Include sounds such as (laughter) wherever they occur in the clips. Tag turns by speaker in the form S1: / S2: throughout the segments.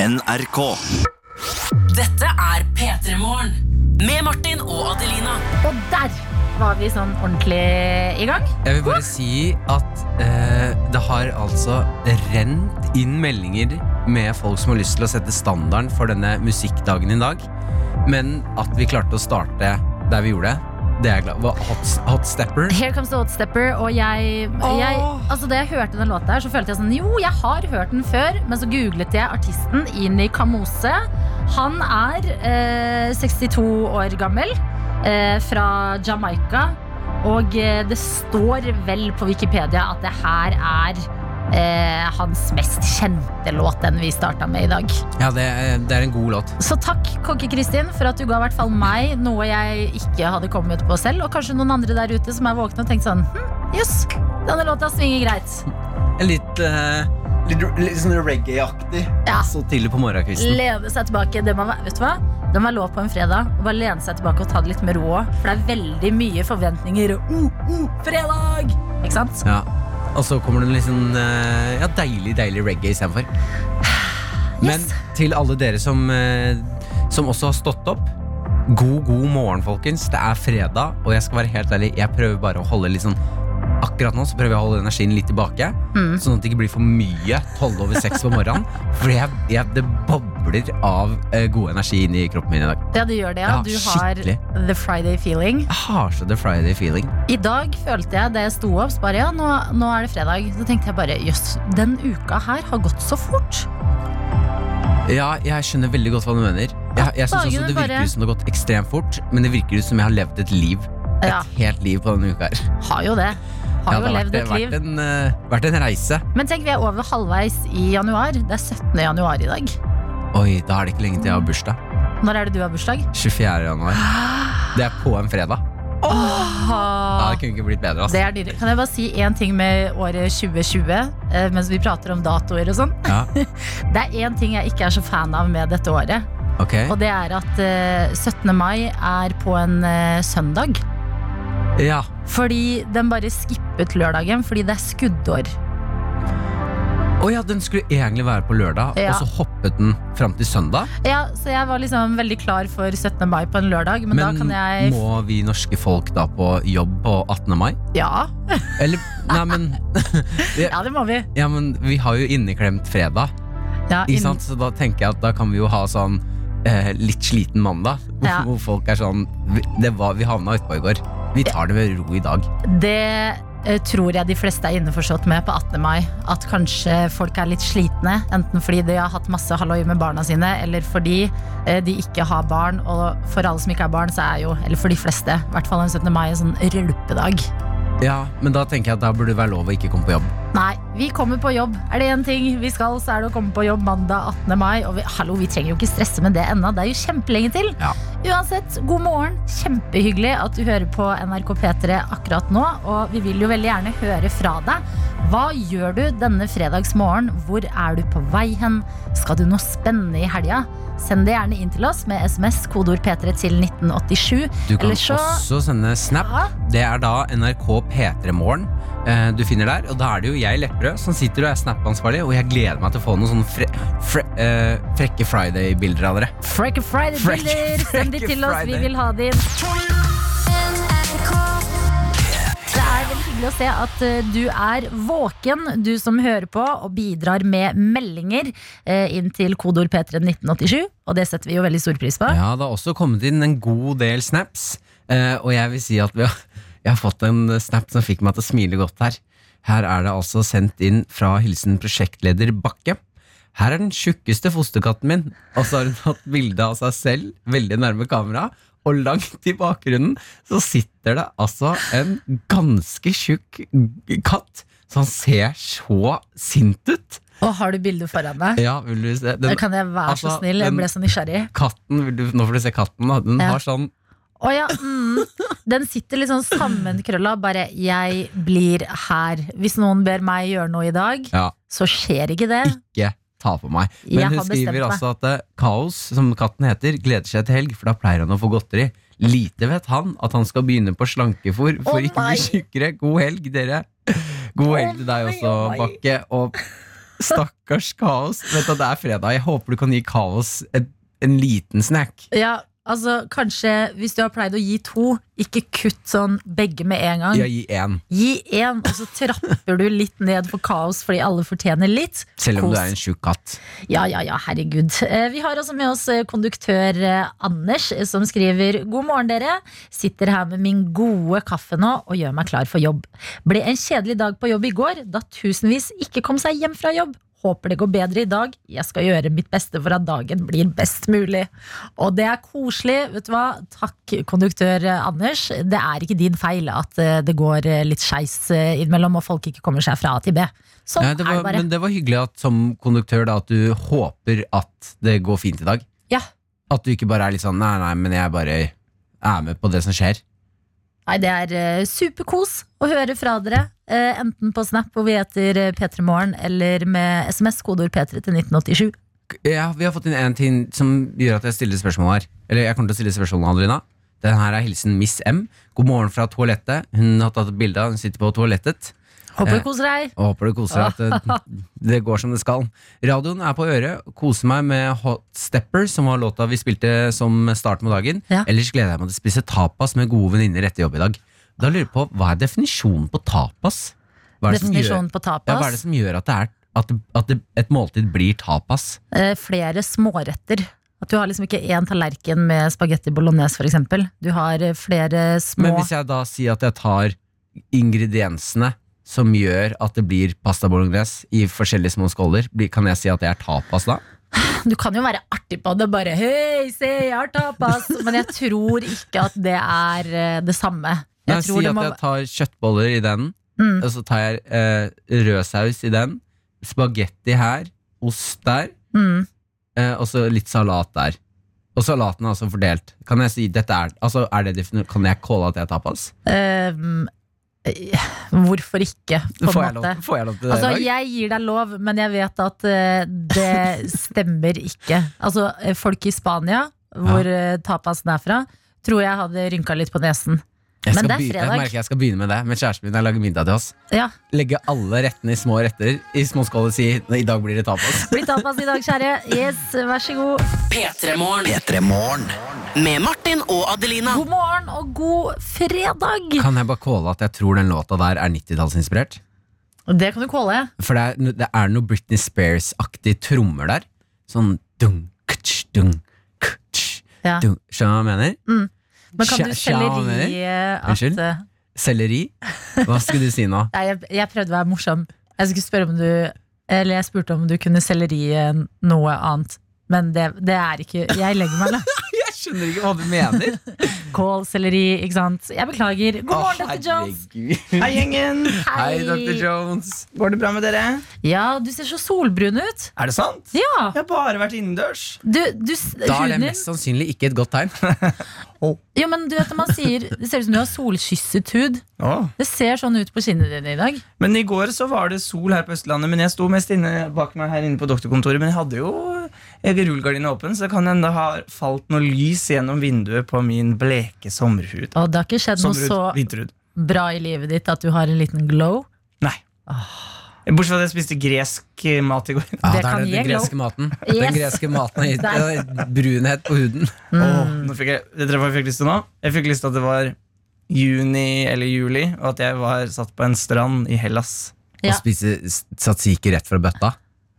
S1: NRK.
S2: Dette er P3 Morgen. Med Martin og Adelina.
S3: Og der var vi sånn ordentlig i gang.
S4: Jeg vil bare si at eh, det har altså rent inn meldinger med folk som har lyst til å sette standarden for denne musikkdagen i dag. Men at vi klarte å starte der vi gjorde det, det er jeg glad for. Hot, hot stepper.
S3: Here comes the hot stepper, og jeg, jeg Altså Da jeg hørte den låta her, så følte jeg sånn Jo, jeg har hørt den før, men så googlet jeg artisten Ini Kamose. Han er eh, 62 år gammel, eh, fra Jamaica, og eh, det står vel på Wikipedia at det her er eh, hans mest kjente låt, den vi starta med i dag.
S4: Ja, det, er- det er en god låt.
S3: Så takk, Kokke-Kristin, for at du ga i hvert fall meg noe jeg ikke hadde kommet på selv. Og kanskje noen andre der ute som er våkne og tenkt sånn hm, Jøss, denne låta svinger greit.
S4: En litt, eh, litt, litt sånn reggae-aktig.
S3: Ja.
S4: Så tidlig på morgenkvisten.
S3: Lene seg tilbake. Det må være, vet du hva? Det må være lov på en fredag. Bare lene seg tilbake og ta det litt med ro òg. For det er veldig mye forventninger. og, Uh, uh, fredag! Ikke sant?
S4: Ja. Og så kommer det en litt sånn eh, ja, deilig, deilig reggae istedenfor. Men
S3: Yes.
S4: til alle dere som, eh, som også har stått opp God, god morgen, folkens. Det er fredag, og jeg skal være helt ærlig, jeg prøver bare å holde litt sånn Akkurat nå så prøver jeg å holde energien litt tilbake,
S3: Mm.
S4: sånn at det ikke blir for mye 12 over 6 på
S3: (laughs)
S4: morgenen. For jeg, jeg, det bobler av eh, god energi inn i kroppen min i dag.
S3: Ja, du gjør det, ja.
S4: Ja,
S3: Du har
S4: skikkelig.
S3: the Friday feeling.
S4: Jeg har så the Friday feeling.
S3: I dag følte jeg da jeg sto opp, så bare ja, nå, nå er det fredag. Så tenkte jeg bare jøss, den uka her har gått så fort.
S4: Ja, jeg skjønner veldig godt hva du mener. Jeg, jeg synes også
S3: Dagene
S4: Det virker
S3: bare-
S4: ut som det har gått ekstremt fort, men det virker ut som jeg har levd et liv. Et
S3: Ja.
S4: helt liv på denne uka her.
S3: Har jo det. Har
S4: Ja,
S3: jo
S4: det
S3: levd
S4: vært,
S3: et
S4: vært
S3: liv.
S4: En, eh, vært en reise.
S3: Men tenk, vi er over halvveis i januar. Det er 17. januar i dag.
S4: Oi, da er det ikke lenge til jeg har bursdag.
S3: Når er det du har bursdag?
S4: 24. januar. Det er på en fredag. Ja,
S3: Åh,
S4: Ah! det kunne ikke blitt bedre. altså. ass.
S3: det er dyrere. Kan jeg bare si én ting med året 2020, eh, mens vi prater om datoer og sånn?
S4: Ja,
S3: Det er én ting jeg ikke er så fan av med dette året.
S4: ok.
S3: (laughs) Og det er at eh, 17. mai er på en eh, søndag.
S4: Ja.
S3: Fordi den bare skippet lørdagen fordi det er skuddår.
S4: Å ja, den skulle egentlig være på lørdag,
S3: Ja.
S4: og så hoppet den fram til søndag.
S3: Ja, Så jeg var liksom veldig klar for 17. mai på en lørdag, men, da
S4: Men
S3: kan jeg
S4: må vi norske folk da på jobb på 18. mai?
S3: Ja,
S4: Eller Nei, men (laughs)
S3: ja, det må vi.
S4: Ja, men vi har jo inneklemt fredag,
S3: Ja,
S4: ikke
S3: inn-
S4: sant? Så da tenker jeg at da kan vi jo ha sånn eh, litt sliten mandag, (laughs) hvor,
S3: Ja.
S4: hvor folk er sånn "Vi- det var, Vi havna utpå i går. Vi tar det med ro i dag.
S3: Det eh, tror jeg de fleste er innforstått med på 18. mai. At kanskje folk er litt slitne. Enten fordi de har hatt masse halloi med barna sine, eller fordi eh, de ikke har barn. Og for alle som ikke har barn, så er jo, eller for de fleste, i hvert fall en 17. mai, en sånn rølpedag.
S4: Ja, Men da tenker jeg at da burde det være lov å ikke komme på jobb.
S3: Nei, vi kommer på jobb. Er det én ting vi skal, så er det å komme på jobb mandag 18. mai. Og vi, hallo, vi trenger jo ikke stresse med det ennå. Det er jo kjempelenge til.
S4: Ja.
S3: Uansett, god morgen. Kjempehyggelig at du hører på NRK P3 akkurat nå. Og vi vil jo veldig gjerne høre fra deg. Hva gjør du denne fredagsmorgen? Hvor er du på vei hen? Skal du noe spennende i helga? Send det gjerne inn til oss med SMS, kodeord P3 til 1987.
S4: Du kan
S3: Eller så-
S4: også sende snap.
S3: Ja,
S4: Det er da NRK P3morgen eh, du finner der. Og da er det jo jeg, Lepperød, som sitter og er Snap-ansvarlig, og jeg gleder meg til å få noen sånne fre fre eh, frekke Friday-bilder av dere.
S3: Frekke
S4: Frekke-
S3: Friday-bilder! Send de
S4: Frekke
S3: til oss, vi
S4: Friday.
S3: vil ha de inn. Det er veldig hyggelig å se at eh, du er våken, du som hører på, og bidrar med meldinger eh, inn til kodeord P3 1987. Og det setter vi jo veldig stor pris på.
S4: Ja, det har også kommet inn en god del snaps, eh, og jeg vil si at vi har, (laughs) jeg har fått en snap som fikk meg til å smile godt her. Her er det altså sendt inn fra hilsen prosjektleder Bakke. Her er den tjukkeste fosterkatten min, og så har hun hatt bilde av seg selv veldig nærme kamera, og langt i bakgrunnen så sitter det altså en ganske tjukk katt som ser så sint ut.
S3: Og har du bildet foran deg?
S4: Ja, vil du se? Den
S3: Kan jeg være så
S4: altså,
S3: snill? Jeg
S4: den-
S3: ble så nysgjerrig.
S4: katten, vil du, nå får du se katten, da. Den
S3: Ja.
S4: har sånn
S3: Å ja, mm. Den sitter litt sånn sammenkrølla, bare 'jeg blir her'. Hvis noen ber meg gjøre noe i dag,
S4: Ja.
S3: så skjer ikke det.
S4: ikke ta på meg.
S3: Jeg
S4: Men
S3: har
S4: hun skriver
S3: bestemt meg.
S4: altså at eh, Kaos, som katten heter, gleder seg til helg, for da pleier han å få godteri. Lite vet han at han skal begynne på slankefor for
S3: Å
S4: ikke å
S3: nei.
S4: bli tjukkere. God helg, dere. God helg til deg
S3: nei,
S4: også,
S3: å nei.
S4: Bakke. Og Stakkars Kaos. Vet du, Det er fredag. Jeg håper du kan gi Kaos et, en liten snack.
S3: Ja, altså kanskje Hvis du har pleid å gi to, ikke kutt sånn begge med en gang.
S4: Jeg gir én,
S3: Gi én, og så trapper du litt ned for kaos fordi alle fortjener litt.
S4: selv om
S3: Kos.
S4: du er en tjukk katt.
S3: Ja, ja, ja, herregud. Eh, Vi har også med oss eh, konduktør eh, Anders, eh, som skriver God morgen, dere. Sitter her med min gode kaffe nå og gjør meg klar for jobb. Ble en kjedelig dag på jobb i går, da tusenvis ikke kom seg hjem fra jobb. Håper det går bedre i dag. Jeg skal gjøre mitt beste for at dagen blir best mulig. Og det er koselig. Vet du hva? Takk, konduktør eh, Anders. Det er ikke din feil at eh, det går eh, litt skeis eh, innimellom, og folk ikke kommer seg fra A til B. Sånn
S4: Nei, det var,
S3: er det bare.
S4: Men det var hyggelig at som konduktør da, at du håper at det går fint i dag.
S3: Ja.
S4: At du ikke bare er litt sånn nei, nei, men jeg bare er med på det som skjer.
S3: Nei, det er eh, superkos å høre fra dere. eh, enten på Snap, hvor vi heter eh, P3morgen, eller med SMS, kodeord P3 til 1987.
S4: Ja, vi har fått inn en ting som gjør at jeg stiller spørsmål her. Eller jeg kommer til å stille spørsmål, Adelina. Den her er hilsen Miss M. God morgen fra toalettet. Hun har tatt et bilde av hun sitter på toalettet.
S3: Håper
S4: Eh.
S3: du koser deg.
S4: Og håper du koser deg at det, det går som det skal. Radioen er på øret. Koser meg med Hot Stepper, som var låta vi spilte som start på dagen.
S3: Ja.
S4: Ellers gleder jeg meg til å spise tapas med gode venninner etter jobb i dag. Da lurer jeg på, Hva er definisjonen på tapas? Hva er det som gjør,
S3: Definisjonen på
S4: ja, hva er
S3: tapas.
S4: det som gjør at, det er, at, det, at det, et måltid blir tapas?
S3: eh, flere småretter. At du har liksom ikke én tallerken med spagetti bolognese, for eksempel. Du har eh, flere
S4: Men
S3: små
S4: hvis jeg da sier at jeg tar ingrediensene som gjør at det blir pasta bolognese i forskjellige små skåler, blir- kan jeg si at det er tapas da?
S3: (laughs) Du kan jo være artig på det, bare 'hei, se, jeg har tapas', men jeg tror ikke at det er eh, det samme. Jeg
S4: Nei,
S3: tror
S4: si
S3: det
S4: at
S3: må
S4: jeg tar kjøttboller i den,
S3: Mm.
S4: og så tar jeg eh, rød saus i den, spagetti her, ost der,
S3: mm.
S4: eh, og så litt salat der. Og salaten er altså fordelt. Kan jeg si dette er, altså, er det defini- Kan jeg calle at det er tapas?
S3: Eh, eh, Hvorfor ikke, på
S4: Får
S3: en
S4: jeg, lov,
S3: måte.
S4: får jeg lov til det
S3: Altså,
S4: i dag?
S3: jeg gir deg lov, men jeg vet at eh, det stemmer ikke. Altså, eh, folk i Spania, hvor eh, tapasen er fra, tror jeg hadde rynka litt på nesen.
S4: Jeg,
S3: men
S4: skal
S3: det er
S4: begynne-
S3: fredag.
S4: jeg merker jeg skal begynne med det, med kjæresten min når jeg lager middag til oss.
S3: Ja,
S4: legge alle rettene i små retter i små skåler og si i dag blir det
S3: (laughs)
S4: tapas.
S3: bli tapas i dag, kjære. Yes, vær så god.
S2: P3morgen. Med Martin og Adelina.
S3: God morgen og god fredag.
S4: Kan jeg bare calle at jeg tror den låta der er 90-tallsinspirert?
S3: Det kan du calle.
S4: For det er, det er noe Britney Spears-aktig trommer der. Sånn dung, kutsch, dung, kutsch,
S3: Ja.
S4: dung. Skjønner du hva jeg mener?
S3: Men kan du selge
S4: Sja- sja-
S3: ri at
S4: Unnskyld?
S3: eh,
S4: Selleri? Hva skulle du si nå?
S3: (laughs) Nei, jeg, jeg prøvde å være morsom. Jeg skulle spørre om du Eller jeg spurte om du kunne selleri eh, noe annet. Men det, det er ikke Jeg legger meg, da.
S4: (laughs) Jeg skjønner ikke hva du mener.
S3: Kål, selleri, ikke sant. Jeg beklager. God morgen,
S4: Å,
S3: dr. Jones.
S4: herregud.
S1: Hei, gjengen.
S4: Hei, dr. Jones.
S1: Går det bra med dere?
S3: Ja, du ser så solbrun ut.
S1: Er det sant?
S3: Ja.
S1: Jeg har bare vært innendørs.
S3: Du, du, s-
S4: Da er det
S3: huden din
S4: mest sannsynlig ikke et godt tegn.
S3: Jo, men du vet når man sier Det ser ut som du har solkysset hud. Det ser sånn ut på kinnet dine i dag.
S1: Men i går så var det sol her på Østlandet, men jeg sto mest inne bak meg her inne på doktorkontoret. Men jeg hadde jo jeg har rullegardina åpen, så det kan hende det har falt noe lys gjennom vinduet på min bleke sommerhud.
S3: Og det har ikke
S4: Sånn
S3: skjedd noe
S1: Sommerhud,
S3: så
S1: vinterhud.
S3: bra i livet ditt at du har en liten glow.
S1: Nei. Bortsett fra at jeg spiste gresk eh, mat i går.
S4: Ja,
S3: Det kan
S4: det er det, den
S3: jeg lov-
S4: greske maten.
S3: Yes.
S4: Den greske maten
S3: (laughs)
S4: har gitt eh, brunhet på huden.
S3: Mm.
S1: Åh, nå fikk jeg, vet dere hva jeg fikk lyst til nå? Jeg fikk lyst til at det var juni eller juli, og at jeg var satt på en strand i Hellas.
S3: Ja.
S4: Og spise s- tzatziki rett fra bøtta.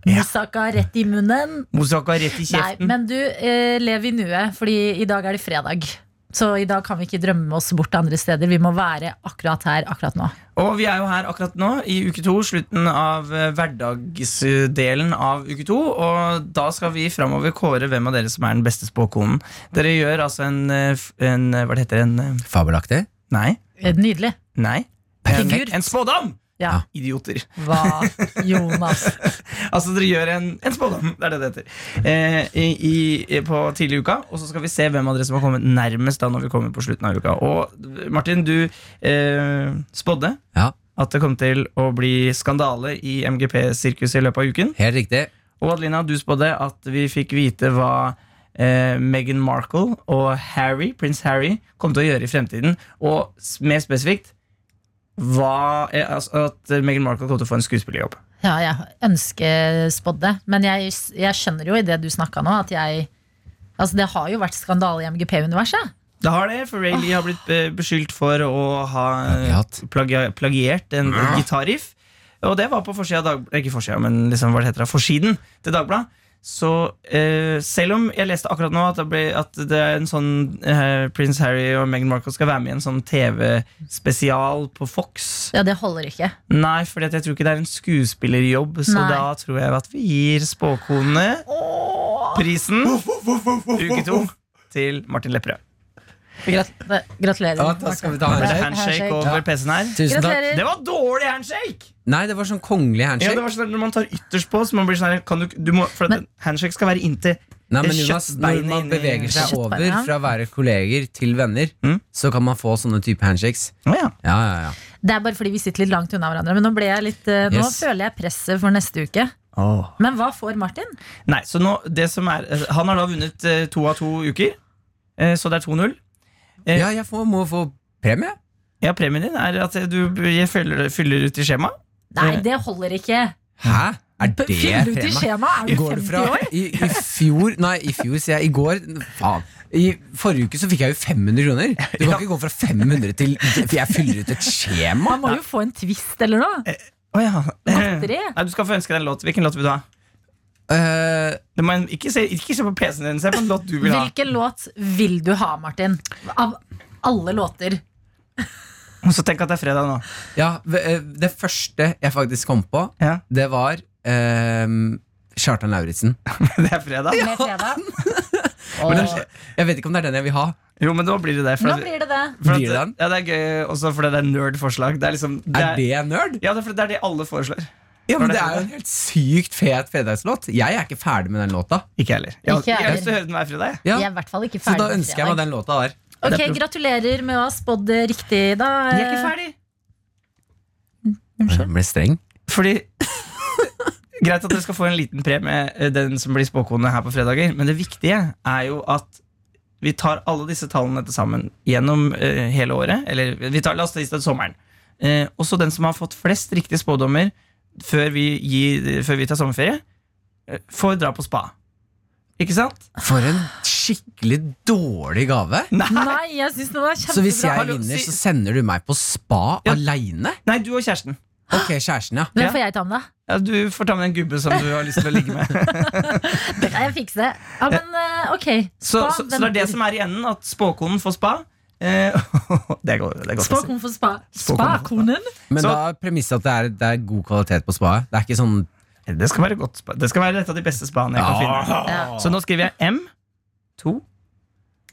S1: Ja.
S3: Moussaka rett i munnen.
S1: Moussaka rett i
S3: Nei,
S1: kjeften.
S3: men du, eh, lev i nuet, fordi i dag er det fredag. Så i dag kan vi ikke drømme oss bort til andre steder. Vi må være akkurat her akkurat nå.
S1: Og vi er jo her akkurat nå i uke to, slutten av eh, hverdagsdelen av uke to. Og da skal vi framover kåre hvem av dere som er den beste spåkonen. Dere gjør altså en, eh, f- en eh, Hva det heter en eh,
S4: Fabelaktig.
S1: Nei.
S3: Eh, Nydelig.
S1: Nei. En,
S3: Figur.
S1: en spådom!
S3: Ja.
S1: Idioter.
S3: Hva, Jonas?
S1: Altså dere gjør en, en spådom, det er det det heter, eh, i, i, på tidlig i uka. Og så skal vi se hvem av dere som har kommet nærmest da når vi kommer på slutten av uka. Og Martin, du eh, spådde
S4: Ja,
S1: at det kom til å bli skandale i MGP-sirkuset i løpet av uken.
S4: helt riktig.
S1: Og Adelina, du spådde at vi fikk vite hva eh, Meghan Markle og Harry, prins Harry kom til å gjøre i fremtiden. Og s- mer spesifikt hva, eh, altså at Meghan Markle kom til å få en skuespillerjobb.
S3: (laughs) Ja, jeg ønskespådde. Men jeg, jeg skjønner jo i det du snakka nå, at jeg Altså, det har jo vært skandale i MGP-universet.
S1: Det har det, for Ray Lee har blitt eh, beskyldt for å ha eh,
S4: Plagiat.
S1: plagia- plagiert en gitarriff. Og det var på forsida av Dag- Ikke forsida, men liksom, hva det heter det, forsiden til Dagbladet. Så eh, selv om jeg leste akkurat nå at det, ble, at det er en sånn eh, Prins Harry og Meghan Markle skal være med i en sånn TV-spesial på Fox
S3: Ja, det holder ikke.
S1: Nei, for jeg tror ikke det er en skuespillerjobb, så
S3: Nei.
S1: da tror jeg at vi gir spåkonene prisen uke to til Martin Lepperød.
S3: Det- Gratulerer.
S4: Ja, da skal vi ta
S1: Det
S4: handshake.
S1: er handshake
S3: Handshake.
S1: over PC-en her.
S4: Tusen takk.
S3: Gratulerer.
S1: Det var dårlig handshake!
S4: Nei, det var sånn kongelig
S1: Ja,
S4: handshake.
S1: det var sånn at Når man tar ytterst på, så man blir sånn her kan du, ikke- du må, For at
S3: Men-
S1: handshake skal være inntil
S4: Nei, men
S1: Det er
S4: Jonas, når
S1: kjøttbeinet
S4: man
S1: inni-
S4: beveger seg
S3: Kjøttbeinet,
S4: over
S3: ja.
S4: fra å være kolleger til venner,
S1: Mm.
S4: så kan man få sånne type handshakes.
S1: Å ja.
S4: Ja, ja, ja.
S3: Det er bare fordi vi sitter litt langt unna hverandre. Men nå, ble jeg litt, eh, nå
S4: Yes.
S3: føler jeg presset for neste uke. Men hva får Martin?
S1: Nei, så nå, det som er Han har da vunnet eh, to av to uker, eh, så det er 2-0. Eh.
S4: Ja, jeg får, må få premie.
S1: Ja, premien din er at du jeg fyller, fyller ut i skjemaet.
S3: Nei,
S1: Eh.
S3: det holder ikke.
S4: Hæ? Er det
S3: Fyll ut i
S4: tema?
S3: skjemaet! Er du
S4: Går det
S3: 50
S4: fra
S3: år?
S4: i, I fjor Nei, i fjor, sier jeg. I går. Faen. I forrige uke så fikk jeg jo 500 kroner. Du kan ikke gå fra 500 til For jeg fyller ut et skjema.
S3: Man må jo få en twist eller noe.
S1: Å ja.
S3: Godteri.
S1: (laughs) Nei, du skal få ønske deg en låt. Hvilken låt vil du ha?
S4: Eh,
S1: Det må en, ikke, se, ikke se på PC-en din, se på en låt du vil ha.
S3: Hvilken låt vil du ha, Martin? Av alle låter.
S1: Og så tenk at det er fredag nå.
S4: ja, v- eh, det første jeg faktisk kom på,
S1: Ja, (laughs)
S4: det var eh, Kjartan Lauritzen.
S1: Det er fredag.
S3: Med fredag.
S4: Men
S3: Åh.
S4: det- Jeg vet ikke om det er den jeg vil ha.
S1: Jo, men nå blir det det. For
S3: Nå
S1: at-
S3: blir det det.
S1: for at-
S4: Blir det den?
S1: Ja, det er gøy også fordi det er nerd-forslag. Det er liksom det
S4: Er
S1: er-
S4: det nerd?
S1: Ja, det er, fordi det er det alle foreslår.
S4: Ja, men
S1: Var det
S4: Det er jo en helt sykt fet fredagslåt. Jeg er ikke ferdig med den låta.
S1: Ikke heller. Jeg,
S3: Ikke
S1: jeg har
S3: heller. Eh.
S1: lyst til å høre den hver fredag. jeg.
S4: Ja,
S3: Jeg er i hvert fall ikke
S4: Så
S3: ferdig.
S4: da
S3: med
S4: ønsker jeg meg
S3: fredag.
S4: den låta der.
S1: Det er
S3: Ok, Gratulerer med å ha spådd det riktig, da.
S1: Jeg er ikke ferdig.
S4: Den ble streng.
S1: Fordi (laughs) Greit at dere skal få en liten premie, eh, den som blir spåkone her på fredager, men det viktige er jo at vi tar alle disse tallene til sammen gjennom eh, hele året. Eller vi tar la oss ta til sommeren. Eh, også den som har fått flest riktige spådommer før vi, gir, før vi tar sommerferie, eh, får dra på spa. Ikke sant?
S4: For en skikkelig dårlig gave.
S3: Nei, jeg syns den var kjempebra.
S4: Så hvis jeg
S1: Hallo,
S4: vinner,
S1: si-
S4: så sender du meg på spa
S1: Ja.
S4: aleine?
S1: Nei, du og kjæresten.
S4: Ok, kjæresten, ja.
S3: Hvem
S1: Ja.
S3: får jeg ta med, da?
S1: Ja, du får ta med en gubbe som (laughs) du
S3: (laughs)
S1: har lyst til å ligge med.
S3: Det kan jeg fikse. Ja, men eh, ok.
S1: Så,
S3: Spa
S1: så, så det er det som er i enden, at spåkonen får spa. Eh, (laughs) det går, det går
S3: Spåkon for spa.
S1: Spåkonen
S3: Spakonen?
S4: Men
S1: Så-
S4: da er premisset at det er, det er god kvalitet på spaet. Det er ikke sånn
S1: Det skal være godt spa. Det skal være et av de beste spaene jeg kan finne.
S3: Ja.
S1: Så nå skriver jeg M, 2,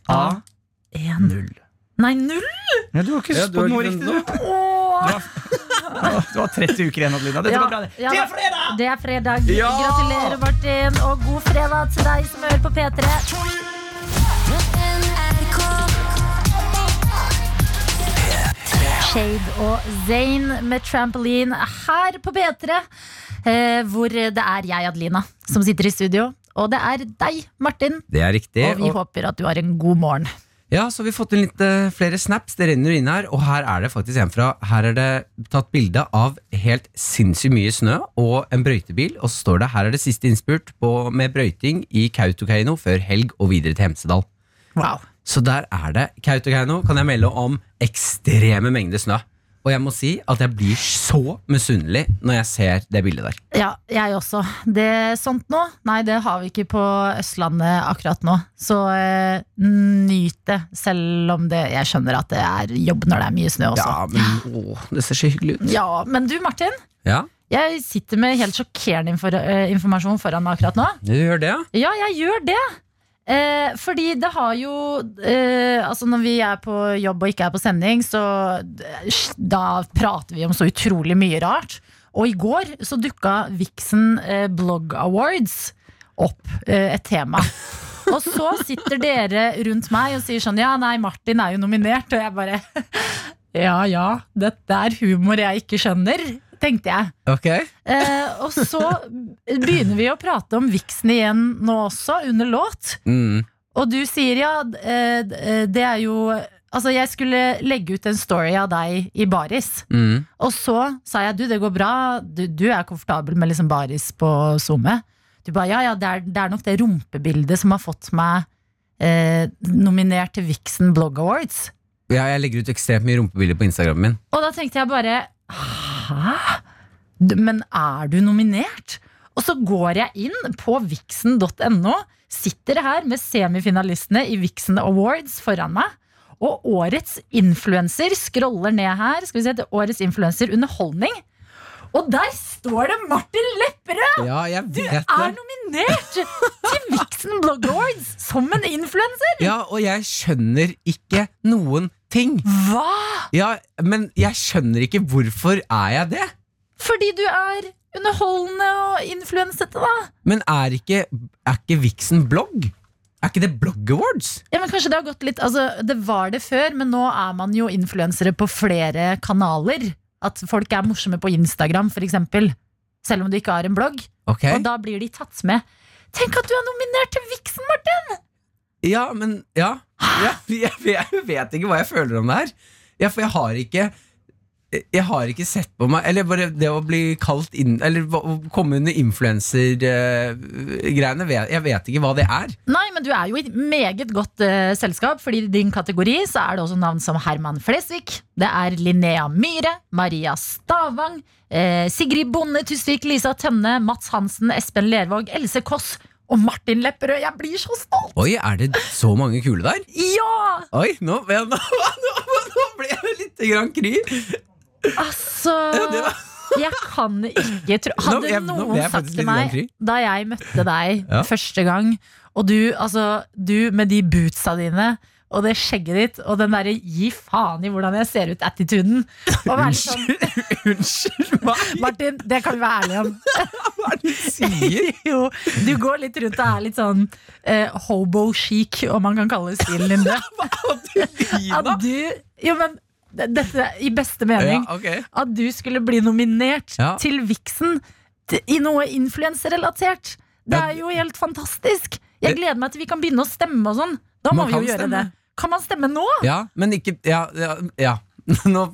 S1: A,
S3: En.
S1: 0.
S3: Nei, null!
S1: Ja, du har ikke
S4: Ja, du har
S1: spådd noe
S4: ikke
S1: riktig,
S4: funnet
S1: du. (laughs) Du har 30 uker igjen, Adelina. Dette
S3: Ja,
S1: går bra. det.
S3: ja
S1: Det
S3: da.
S1: er fredag!
S3: Det er fredag. Gratulerer, Martin, og god fredag til deg som hører på P3. Shade og Zain med trampoline her på P3. Eh, hvor det er jeg, Adelina, som sitter i studio. Og det er deg, Martin.
S4: Det er riktig.
S3: Og vi
S4: og-
S3: håper at du har en god morgen.
S4: Ja, så vi har fått inn litt eh, flere snaps. Det renner jo inn her, og her er det faktisk en fra. Her er det tatt bilde av helt sinnssykt mye snø og en brøytebil, og så står det her er det siste innspurt på, med brøyting i Kautokeino før helg og videre til Hemsedal.
S3: Wow.
S4: Så der er det. Kautokeino kan jeg melde om ekstreme mengder snø. Og jeg må si at jeg blir så misunnelig når jeg ser det bildet der.
S3: Ja, jeg også. Det Sånt nå? Nei, det har vi ikke på Østlandet akkurat nå. Så eh, nyt det, selv om det Jeg skjønner at det er jobb når det er mye snø også.
S4: Altså, Ja, men åh, det ser så hyggelig ut.
S3: Ja, men du Martin,
S4: Ja,
S3: jeg sitter med helt sjokkerende infor eh, informasjon foran meg akkurat nå.
S4: du gjør det, ja.
S3: Ja, jeg gjør det. Eh, fordi det har jo eh, Altså Når vi er på jobb og ikke er på sending, så eh, da prater vi om så utrolig mye rart. Og i går så dukka Vixen eh, Blog Awards opp eh, et tema. Og så sitter dere rundt meg og sier sånn Ja, nei, Martin er jo nominert. Og jeg bare (laughs) Ja ja, dette er humor jeg ikke skjønner, tenkte jeg.
S4: Ok.
S3: Eh, og så begynner vi å prate om Vixen igjen nå også, under låt.
S4: Mm.
S3: Og du sier ja, d- eh, d- eh, det er jo Altså, jeg skulle legge ut en story av deg i baris.
S4: Mm.
S3: Og så sa jeg du, det går bra, du, du er komfortabel med liksom baris på SoMe. Du ba ja, ja, det er, det er nok det rumpebildet som har fått meg eh, nominert til Vixen Blog Awards.
S4: Ja, jeg legger ut ekstremt mye rumpebilder på Instagramen min.
S3: Og da tenkte jeg bare hæ? D- Men er du nominert? Og så går jeg inn på vixen.no, sitter her med semifinalistene i Vixen Awards foran meg. Og årets influenser scroller ned her. Skal vi se, til Årets influenser underholdning. Og der står det Martin Lepperød!
S4: Ja, jeg vet
S3: Er
S4: det.
S3: nominert til Vixen Blog Awards som en influenser!
S4: Ja, og jeg skjønner ikke noen ting.
S3: Hva?!
S4: Ja, men jeg skjønner ikke hvorfor er jeg det?
S3: Fordi du er underholdende og influensete, da.
S4: Men er ikke, er ikke Vixen blogg? Er ikke det Blog Awards?
S3: Ja, men kanskje Det har gått litt altså, Det var det før, men nå er man jo influensere på flere kanaler. At folk er morsomme på Instagram, f.eks. Selv om du ikke har en blogg.
S4: Ok
S3: Og da blir de tatt med. Tenk at du er nominert til Vixen, Martin!
S4: Ja, men ja. ja jeg, jeg vet ikke hva jeg føler om det her. Ja, for jeg har ikke jeg har ikke sett på meg Eller bare det å bli kalt inn Eller hva- å komme under influenser-greiene. jeg vet ikke hva det er.
S3: Nei, men du er jo i et meget godt eh, selskap, Fordi i din kategori så er det også navn som Herman Flesvig, det er Linnea Myhre, Maria Stavang, eh, Sigrid Bonde Tusvik, Lisa Tønne, Mats Hansen, Espen Lervåg, Else Kåss og Martin Lepperød. Jeg blir så stolt!
S4: Oi, er det så mange kule der?
S3: Ja!
S4: Oi, nå, nå, (laughs) nå, nå ble jeg litt grann kry.
S3: Altså
S4: Ja, det var-
S3: Jeg kan ikke tro Hadde
S4: Nå ble jeg- nå
S3: noen
S4: ble jeg
S3: sagt
S4: faktisk
S3: til
S4: litt
S3: meg
S4: grann kry.
S3: da jeg møtte deg
S4: Ja.
S3: første gang, og du, altså, du med de bootsa dine og det skjegget ditt og den derre 'gi faen i hvordan jeg ser ut'-attituden. Og være litt sånn,
S4: Unnskyld meg,
S3: Martin, det kan vi være ærlige om.
S4: hva er det du (laughs)
S3: (laughs)
S4: sier?
S3: Jo, du går litt rundt og er litt sånn eh, hobo-chic, om man kan kalle stilen din
S4: (laughs)
S3: det. At
S4: Adelina?
S3: du Jo, men dette er i beste mening.
S4: Ja, ok.
S3: at du skulle bli nominert
S4: Ja.
S3: til Vixen t- i noe influenserelatert. Det
S4: Ja,
S3: er jo helt fantastisk. Jeg gleder meg til vi kan begynne å stemme og sånn. Da må
S4: Man
S3: vi jo
S4: kan
S3: gjøre
S4: stemme.
S3: det. Kan man stemme nå?
S4: Ja, men ikke Ja. ja, ja. (laughs) Nå,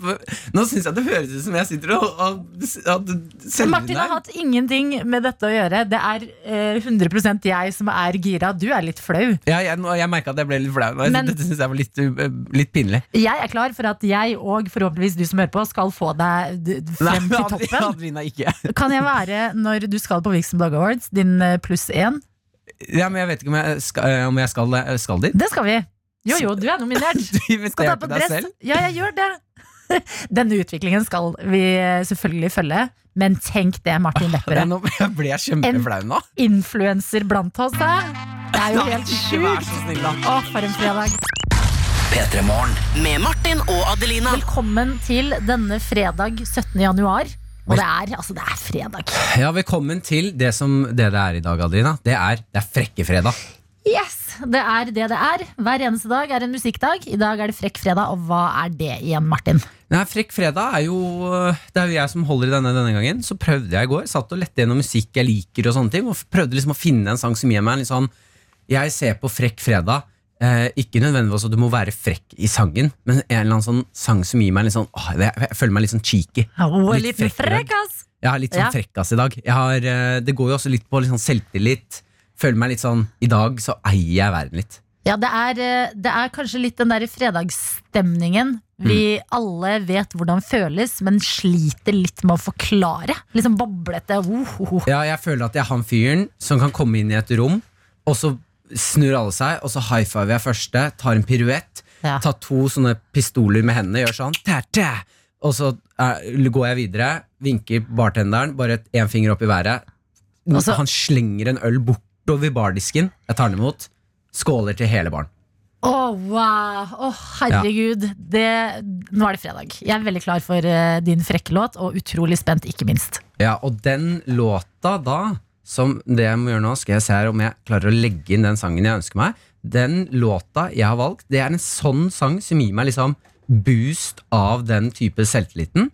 S4: nå syns jeg det høres ut som jeg sitter og, og at du selger
S3: Martin har hatt ingenting med dette å gjøre. Det er eh, 100 jeg som er gira. Du er litt flau.
S4: ja, jeg, nå- jeg merka at jeg ble litt flau. nå. Jeg-
S3: Men-
S4: Dette syns jeg var litt, uh, litt pinlig.
S3: Jeg er klar for at jeg og forhåpentligvis du som hører på, skal få deg d- d- frem
S4: Nei,
S3: til
S4: Adel-
S3: toppen.
S4: Adelina ikke.
S3: Kan jeg være, når du skal på Vixen Blog Awards, din eh, pluss én?
S4: Ja, men jeg vet ikke om jeg skal, eh, om jeg skal, eh, skal dit. (laughs)
S3: Det skal vi. Jo, jo, du er nominert.
S4: Du
S3: Skal ta
S4: investerte
S3: på
S4: deg
S3: dress.
S4: selv.
S3: Ja, jeg gjør det. (laughs) Denne utviklingen skal vi selvfølgelig følge, men tenk det, Martin
S4: Ja,
S3: Lepperød.
S4: nå jeg ble jeg kjempeflau nå.
S3: Influenser blant oss, hæ? Det er jo helt
S4: Ikke vær
S3: sjukt.
S4: så snill, da.
S3: Å, for en fredag.
S2: Med Martin og Adelina.
S3: Velkommen til denne fredag 17. januar. Og det er, altså, det er fredag.
S4: Ja, Velkommen til det som det det er i dag, Adelina. Det er, det er Frekkefredag.
S3: Yes! Det er det det er. Hver eneste dag er en musikkdag. I dag er det Frekk fredag, og hva er det igjen, Martin?
S4: Nei, Frekk fredag er jo øh, Det er jo jeg som holder i denne denne gangen. Så prøvde jeg i går. Satt og lette gjennom musikk jeg liker, og sånne ting Og f- prøvde liksom å finne en sang som gir meg en litt sånn Jeg ser på Frekk fredag. Eh, ikke nødvendigvis at du må være frekk i sangen, men en eller annen sånn sang som gir meg en litt sånn åh, jeg, jeg føler meg litt sånn cheeky.
S3: Å, en
S4: Litt
S3: liten
S4: frekk i dag.
S3: frekkas!
S4: Jeg har litt sånn
S3: Ja.
S4: frekkas i dag. Jeg har, eh, det går jo også litt på litt sånn selvtillit. Føler meg litt sånn I dag så eier jeg verden litt.
S3: Ja, det er, eh, det er kanskje litt den der fredagsstemningen vi alle vet hvordan føles, men sliter litt med å forklare. Liksom boblete. Oh, oh, oh.
S4: Ja, jeg føler at jeg er han fyren som kan komme inn i et rom, og så snur alle seg, og så high fiver jeg første, tar en piruett,
S3: Ja.
S4: tar to sånne pistoler med hendene, gjør sånn, tæ, tæ, og så er, går jeg videre, vinker bartenderen, bare et- en finger opp i været.
S3: Og så-
S4: Han slenger en øl bortover bardisken, jeg tar den imot, skåler til hele baren.
S3: Å, wow! Å, herregud. Det, nå er det fredag. Jeg er veldig klar for eh, din frekke låt, og utrolig spent, ikke minst.
S4: Ja, og den låta da som det jeg må gjøre nå, skal jeg se her om jeg klarer å legge inn den sangen jeg ønsker meg. Den låta jeg har valgt, det er en sånn sang som gir meg liksom boost av den type selvtilliten.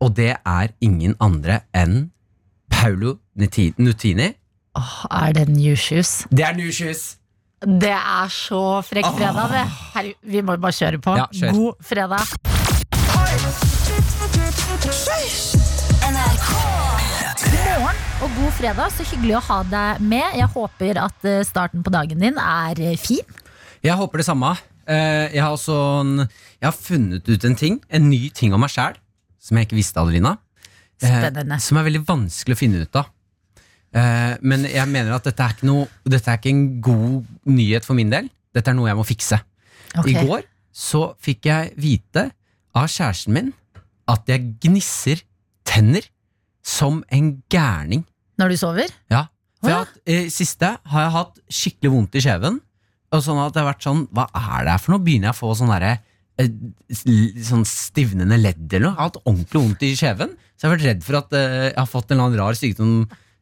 S4: Og det er ingen andre enn Paulo Nuti- Nutini.
S3: Åh, er det New Shoes?
S4: Det er New Shoes!
S3: Det er så frekk fredag, det. Herregud, vi må jo bare kjøre på.
S4: Ja, kjør.
S3: God fredag. God morgen og god fredag. Så hyggelig å ha deg med. Jeg håper at eh, starten på dagen din er eh, fin.
S4: Jeg håper det samme. Eh, Jeg har, også en, jeg har funnet ut en ting, en ny ting om meg sjæl, som jeg ikke visste, Adelina. eh,
S3: Spennende.
S4: Som er veldig vanskelig å finne ut av. Eh, Men jeg mener at dette er, ikke noe, dette er ikke en god nyhet for min del. Dette er noe jeg må fikse.
S3: Ok.
S4: I går så fikk jeg vite av kjæresten min at jeg gnisser tenner som en gærning.
S3: Når du sover?
S4: Ja. For jeg
S3: Å,
S4: har hatt, eh, siste har jeg hatt skikkelig vondt i kjeven. Og sånn at det har vært sånn Hva er det her for noe? Begynner jeg å få sånn derre eh, s- l- Sånn stivnende ledd eller noe? Jeg har hatt ordentlig vondt i kjeven. Så jeg har vært redd for at eh, jeg har fått en eller annen rar sykdom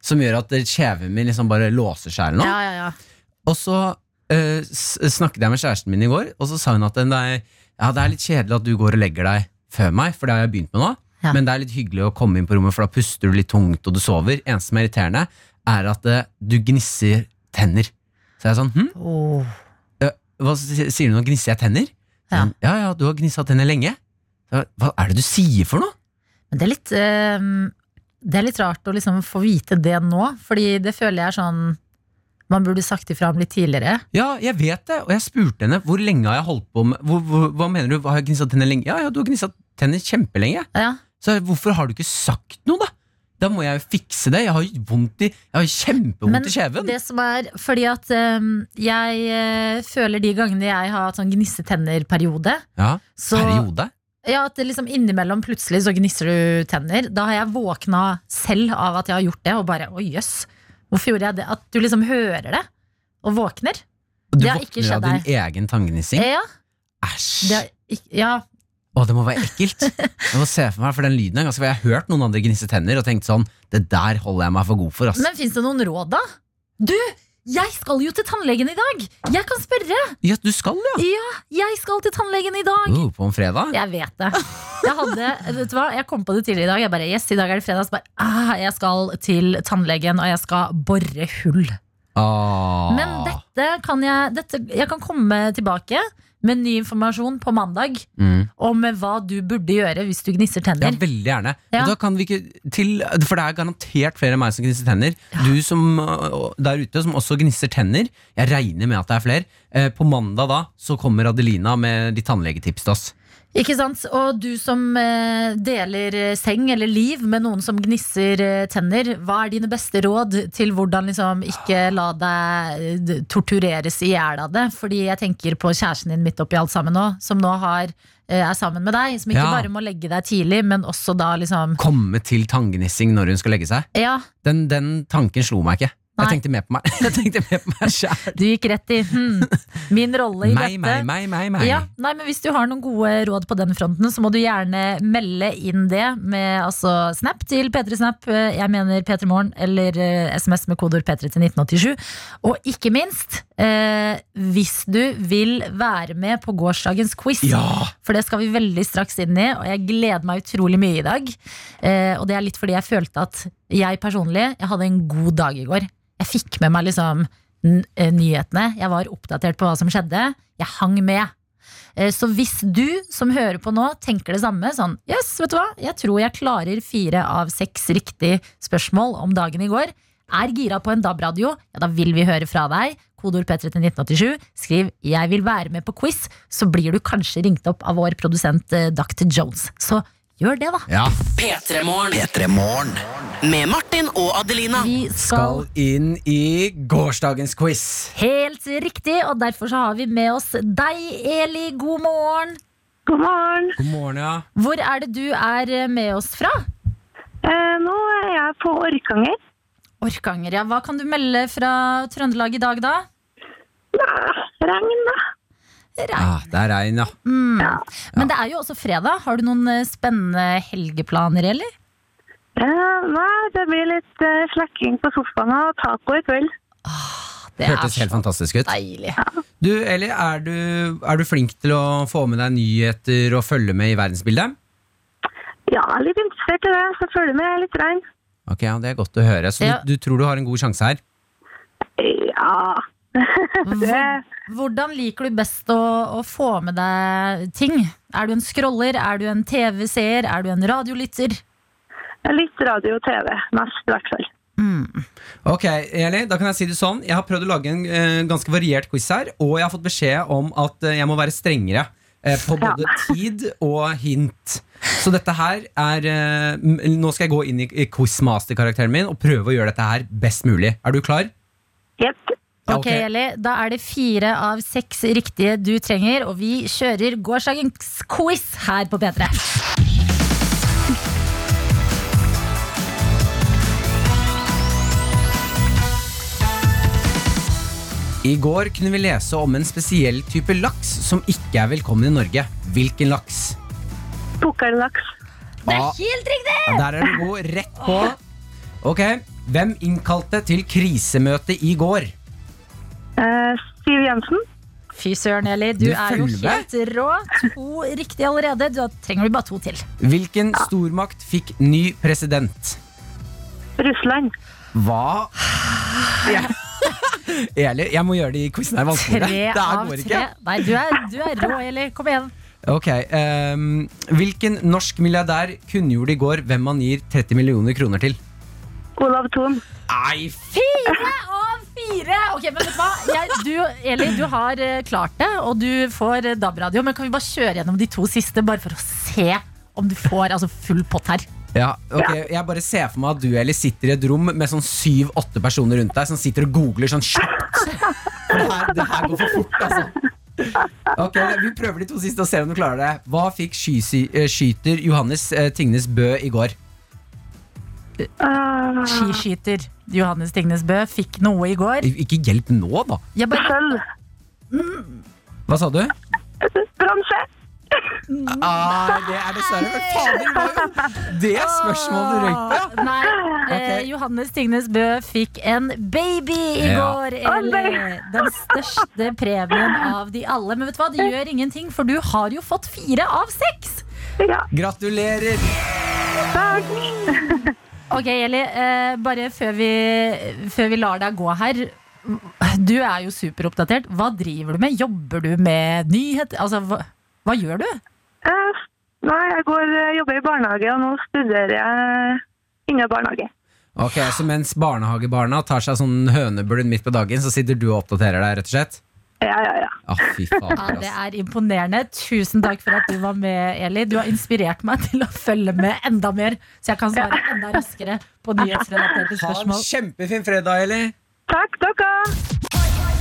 S4: som gjør at eh, kjeven min liksom bare låser seg eller noe.
S3: Ja, ja, ja.
S4: Og så eh, s- snakket jeg med kjæresten min i går, og så sa hun at det er, ja, det er litt kjedelig at du går og legger deg før meg, for det har jeg begynt med nå.
S3: Ja.
S4: Men det er litt hyggelig å komme inn på rommet, for da puster du litt tungt, og du sover. Eneste som er irriterende, er at eh, du gnisser tenner. Så jeg er sånn, hm,
S3: Åh.
S4: hva s- sier du nå, gnisser jeg tenner? Så
S3: Ja.
S4: hun, ja, ja, du har gnissa tenner lenge. Så jeg, Hva er det du sier for noe?
S3: Men det er litt eh, Det er litt rart å liksom få vite det nå, fordi det føler jeg er sånn Man burde sagt ifra om litt tidligere.
S4: Ja, jeg vet det, og jeg spurte henne, hvor lenge har jeg holdt på med, hvor, hvor, hva mener du, har jeg gnissa tenner lenge? Ja, ja, du har gnissa tenner kjempelenge.
S3: Ja,
S4: Så jeg, hvorfor har du ikke sagt noe, da? Da må jeg jo fikse det. Jeg har jo vondt i Jeg har jo kjempevondt
S3: Men
S4: i kjeven.
S3: det som er Fordi at øhm, jeg øh, føler de gangene jeg har hatt sånn gnissetenner-periode
S4: ja,
S3: så,
S4: periode.
S3: ja, at det liksom innimellom plutselig så gnisser du tenner. Da har jeg våkna selv av at jeg har gjort det, og bare å jøss, hvorfor gjorde jeg det? At du liksom hører det, og våkner.
S4: Og du
S3: det har ikke
S4: våkner av
S3: skjedd
S4: din egen tanngnissing.
S3: Ja,
S4: Æsj!
S3: det, har ikk- ja,
S4: Å, det må være
S3: (laughs)
S4: ekkelt. Jeg må se for meg, for den lyden er ganske for Jeg har hørt noen andre gnisse tenner og tenkt sånn Det der holder jeg meg for god for, ass.
S3: Men fins det noen råd, da? Du, jeg skal jo til tannlegen i dag! Jeg kan spørre!
S4: Ja, du skal, ja!
S3: Jeg skal til tannlegen i dag!
S4: Oh, på en fredag?
S3: Jeg vet det. Jeg, hadde, vet du hva? jeg kom på det tidligere i dag. Jeg bare, yes, i dag er det fredag. Så bare, ah, jeg skal til tannlegen, og jeg skal bore hull.
S4: Åh.
S3: Men dette kan jeg, dette, jeg kan komme tilbake med ny informasjon på mandag
S4: Mm.
S3: om hva du burde gjøre hvis du gnisser
S4: Ja,
S3: tenner.
S4: veldig gjerne.
S3: Ja.
S4: Men Da kan vi ikke til, for det er garantert flere enn meg som gnisser tenner. Du som øh, der ute som også gnisser tenner. Jeg regner med at det er flere. Eh, På mandag da så kommer Adelina med de tannlegetips til oss.
S3: Ikke sant? Og du som eh, deler eh, seng eller liv med noen som gnisser eh, tenner, hva er dine beste råd til hvordan liksom ikke la deg eh, d- tortureres i hjel av det? Fordi jeg tenker på kjæresten din midt oppi alt sammen nå, som nå har, eh, er sammen med deg. Som ikke
S4: Ja.
S3: bare må legge deg tidlig, men også da liksom
S4: Komme til tanngnissing når hun skal legge seg.
S3: Ja,
S4: Den, den tanken slo meg ikke.
S3: Nei.
S4: Jeg tenkte mer på meg (laughs) Jeg tenkte mer på meg sjæl.
S3: du gikk rett i hm, min rolle i
S4: Meg,
S3: dette.
S4: meg, meg, meg. meg.
S3: Ja, nei, men Hvis du har noen gode råd på den fronten, så må du gjerne melde inn det med altså, snap til P3snap, eh, jeg mener P3morgen, eller eh, SMS med kodeord P3 til 1987. Og ikke minst, eh, hvis du vil være med på gårsdagens quiz,
S4: Ja!
S3: for det skal vi veldig straks inn i, og jeg gleder meg utrolig mye i dag. Eh, og det er litt fordi jeg følte at jeg personlig, jeg hadde en god dag i går. Jeg fikk med meg liksom n- eh, nyhetene, jeg var oppdatert på hva som skjedde, jeg hang med. Eh, Så hvis du som hører på nå tenker det samme, sånn yes, vet du hva, jeg tror jeg klarer fire av seks riktige spørsmål om dagen i går, er gira på en DAB-radio, ja da vil vi høre fra deg. Kodord P3 til 1987. Skriv 'Jeg vil være med på quiz', så blir du kanskje ringt opp av vår produsent eh, Dr. Jones. Så gjør det, da.
S4: ja.
S2: P3morgen. Med Martin og Adelina.
S3: Vi skal
S4: Skal inn i gårsdagens quiz.
S3: helt riktig, og derfor så har vi med oss deg, Eli. God morgen.
S5: God morgen.
S4: God morgen, ja.
S3: Hvor er det du er eh, med oss fra?
S5: Eh, nå er jeg på Orkanger.
S3: Orkanger, ja. Hva kan du melde fra Trøndelag i dag, da?
S5: Nei, regn, da.
S3: Regn.
S4: Ah, det er regn, ja.
S3: Hmm. Men det er jo også fredag. Har du noen eh, spennende helgeplaner, eller?
S5: Eh, nei, det blir litt eh, slekking på sofaen og taco i kveld.
S3: Ah, Det
S4: Hørtes helt fantastisk ut.
S3: deilig.
S4: Du, Eli, er du, er du flink til å få med deg nyheter og følge med i verdensbildet?
S5: Ja, jeg er litt interessert i det, så følg med litt regn.
S4: Ok, ja, Det er godt å høre. Så
S3: Ja.
S4: du, du tror du har en god sjanse her?
S5: Ja, (laughs)
S3: Hvor- Hvordan liker du best å, å få med deg ting? Er du en scroller? Er du en TV-seer? Er du en radiolytter?
S5: Litt radio og TV, mest i hvert fall.
S4: Ok, Eli, da kan jeg si det sånn Jeg har prøvd å lage en eh, ganske variert quiz her Og jeg har fått beskjed om at eh, jeg må være strengere eh, På
S5: Ja.
S4: både tid og hint Så dette her er eh, m- Nå skal jeg gå inn i, i quizmaster-karakteren min Og prøve å gjøre dette her best mulig Er du klar?
S5: Jepp.
S4: Ja,
S3: Ok, Eli, Da er det fire av seks riktige du trenger, og vi kjører gårsdagens quiz her på P3.
S4: I går kunne vi lese om en spesiell type laks Som ikke er velkommen i Norge Hvilken laks?
S5: Pukkellaks.
S3: Det er
S4: Ah.
S3: helt riktig!
S4: Ja, Der er du god rett på Ok, hvem innkalte til krisemøte i går?
S5: Eh, Siv Jensen.
S3: Fy søren, Eli. Du,
S4: Du
S3: er jo
S4: følger med.
S3: helt rå. To riktige allerede. Da trenger du bare to til.
S4: Hvilken stormakt fikk ny president?
S5: Russland.
S4: Hva? (laughs) Eli, jeg må gjøre de quizene
S3: Tre
S4: her vanskeligere. Det her
S3: av tre.
S4: går ikke.
S3: Nei, du er, du er rå, Eli. Kom igjen.
S4: Ok, ehm, Hvilken norsk milliardær kunngjorde i går hvem han gir 30 millioner kroner til?
S5: Olav Thon.
S4: Nei, f...
S3: Fire av fire! Ok, men vet du hva? Jeg, du, Eli, du har eh, klart det, og du får eh, DAB-radio. Men kan vi bare kjøre gjennom de to siste, bare for å se om du får altså, full pott her?
S4: Ja, ok, Jeg bare ser for meg at du Eli, sitter i et rom med sånn syv-åtte personer rundt deg som sitter og googler sånn kjapt. For det her, det her går for fort, altså. Ok, Vi prøver de to siste og ser om du klarer det. Hva fikk skysy- eh, skyter Johannes eh, Tingnes Bø i går?
S5: Eh,
S3: Skiskyter Johannes Tingnes Bø fikk noe i går.
S4: Ikke hjelp nå, da.
S3: Jeg bare,
S5: Sølv.
S4: Hva sa du?
S5: Bronse.
S4: Ah, det er dessverre Men faen, det var jo det spørsmålet du røyk på!
S3: Nei, eh,
S4: Ok.
S3: Johannes Tingnes Bø fikk en baby i
S4: Ja.
S3: går.
S5: Å, nei.
S3: Eli. Den største premien av de alle. Men vet du hva, det gjør ingenting, for du har jo fått fire av seks!
S5: Ja,
S4: Gratulerer!
S5: takk.
S3: Ok, Eli, eh, bare før vi, før vi lar deg gå her Du er jo superoppdatert Hva driver du med? Jobber du med nyheter? Altså, hva, hva gjør du?
S5: Eh, nei, jeg går, eh, jobber i barnehage, og nå studerer jeg innen barnehage.
S4: Ok, Så mens barnehagebarna tar seg sånn høneblund midt på dagen, så sitter du og oppdaterer deg, rett og slett?
S5: Ja, ja, ja.
S4: Ah, fy faen,
S3: Ja, det
S4: ass.
S3: er imponerende Tusen takk for at du var med, Eli Du har inspirert meg til å følge med enda mer Så jeg kan svare enda raskere på nyhetsrelaterte
S4: Ha en
S3: spørsmål
S4: kjempefin fredag, Eli.
S5: Takk dere.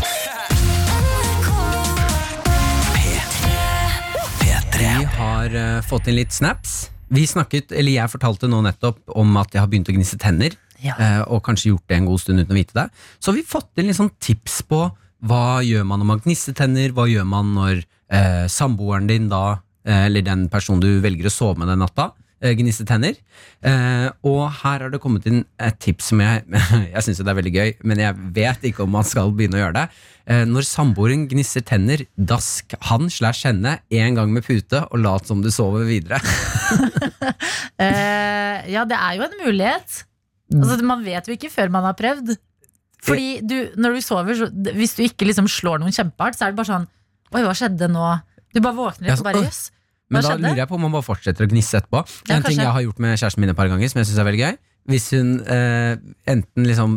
S4: Vi har eh, fått inn litt snaps. Vi snakket, eller Jeg fortalte nå nettopp om at jeg har begynt å gnisse tenner.
S3: Ja.
S4: eh, Og kanskje gjort det en god stund uten å vite det. Så har vi fått inn litt sånn tips på hva gjør man når man gnisser tenner. Hva gjør man når eh, samboeren din da, eh, eller den personen du velger å sove med den natta, eh, gnisser tenner. Eh, og her har det kommet inn et tips som jeg (laughs) Jeg syns jo det er veldig gøy, men jeg vet ikke om man skal begynne å gjøre det. Eh, når samboeren gnisser tenner, dask han slash henne en gang med pute og lat som du sover videre.
S3: Eh, Ja, det er jo en mulighet altså, Man vet jo ikke før man har prøvd Fordi du, når du sover så, Hvis du ikke liksom slår noen kjempehardt Så er det bare sånn Oi, hva skjedde nå? Du bare våkner
S4: Ja,
S3: litt og bare
S4: så-
S3: jøss.
S4: Men
S3: Hva
S4: da
S3: skjedde?
S4: lurer jeg på om han bare fortsetter å gnisse etterpå.
S3: Ja,
S4: en ting
S3: kanskje.
S4: jeg har gjort med kjæresten min et par ganger, som jeg synes er veldig gøy. Hvis hun eh, enten liksom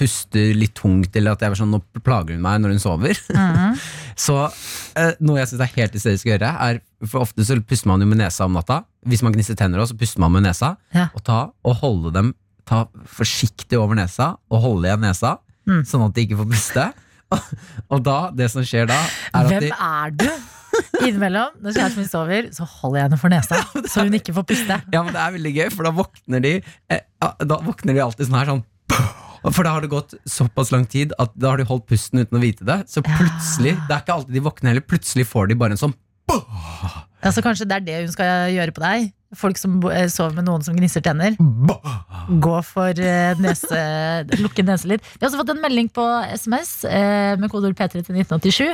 S4: puster litt tungt, eller at jeg er sånn, nå plager hun meg når hun sover.
S3: Mhm.
S4: (laughs) så eh, noe jeg syns er helt hysterisk å gjøre, er For ofte så puster man jo med nesa om natta. Hvis man gnisser tenner også, så puster man med nesa.
S3: Ja.
S4: Og ta og holde dem Ta forsiktig over nesa og holde igjen nesa,
S3: Mm.
S4: sånn at de ikke får puste. (laughs) og da, det som skjer da, er at
S3: Hvem
S4: de
S3: er du? Innimellom, når kjæresten min sover, så holder jeg henne for (laughs) nesa. Så hun ikke får puste.
S4: Ja, men det er veldig gøy, for da våkner de eh, ja, Da våkner de alltid sånn her sånn for da har det gått såpass lang tid at da har de holdt
S3: Ah.
S4: pusten uten å vite det. Så plutselig, det er ikke alltid de våkner heller, plutselig får de bare en sånn
S3: Altså, kanskje det er det hun skal gjøre på deg? Folk som bo- eh, sover med noen som gnisser tenner. Gå for eh, nese (laughs) Lukke nesa litt. Vi har også fått en melding på SMS eh, med kodeord P3 til 1987,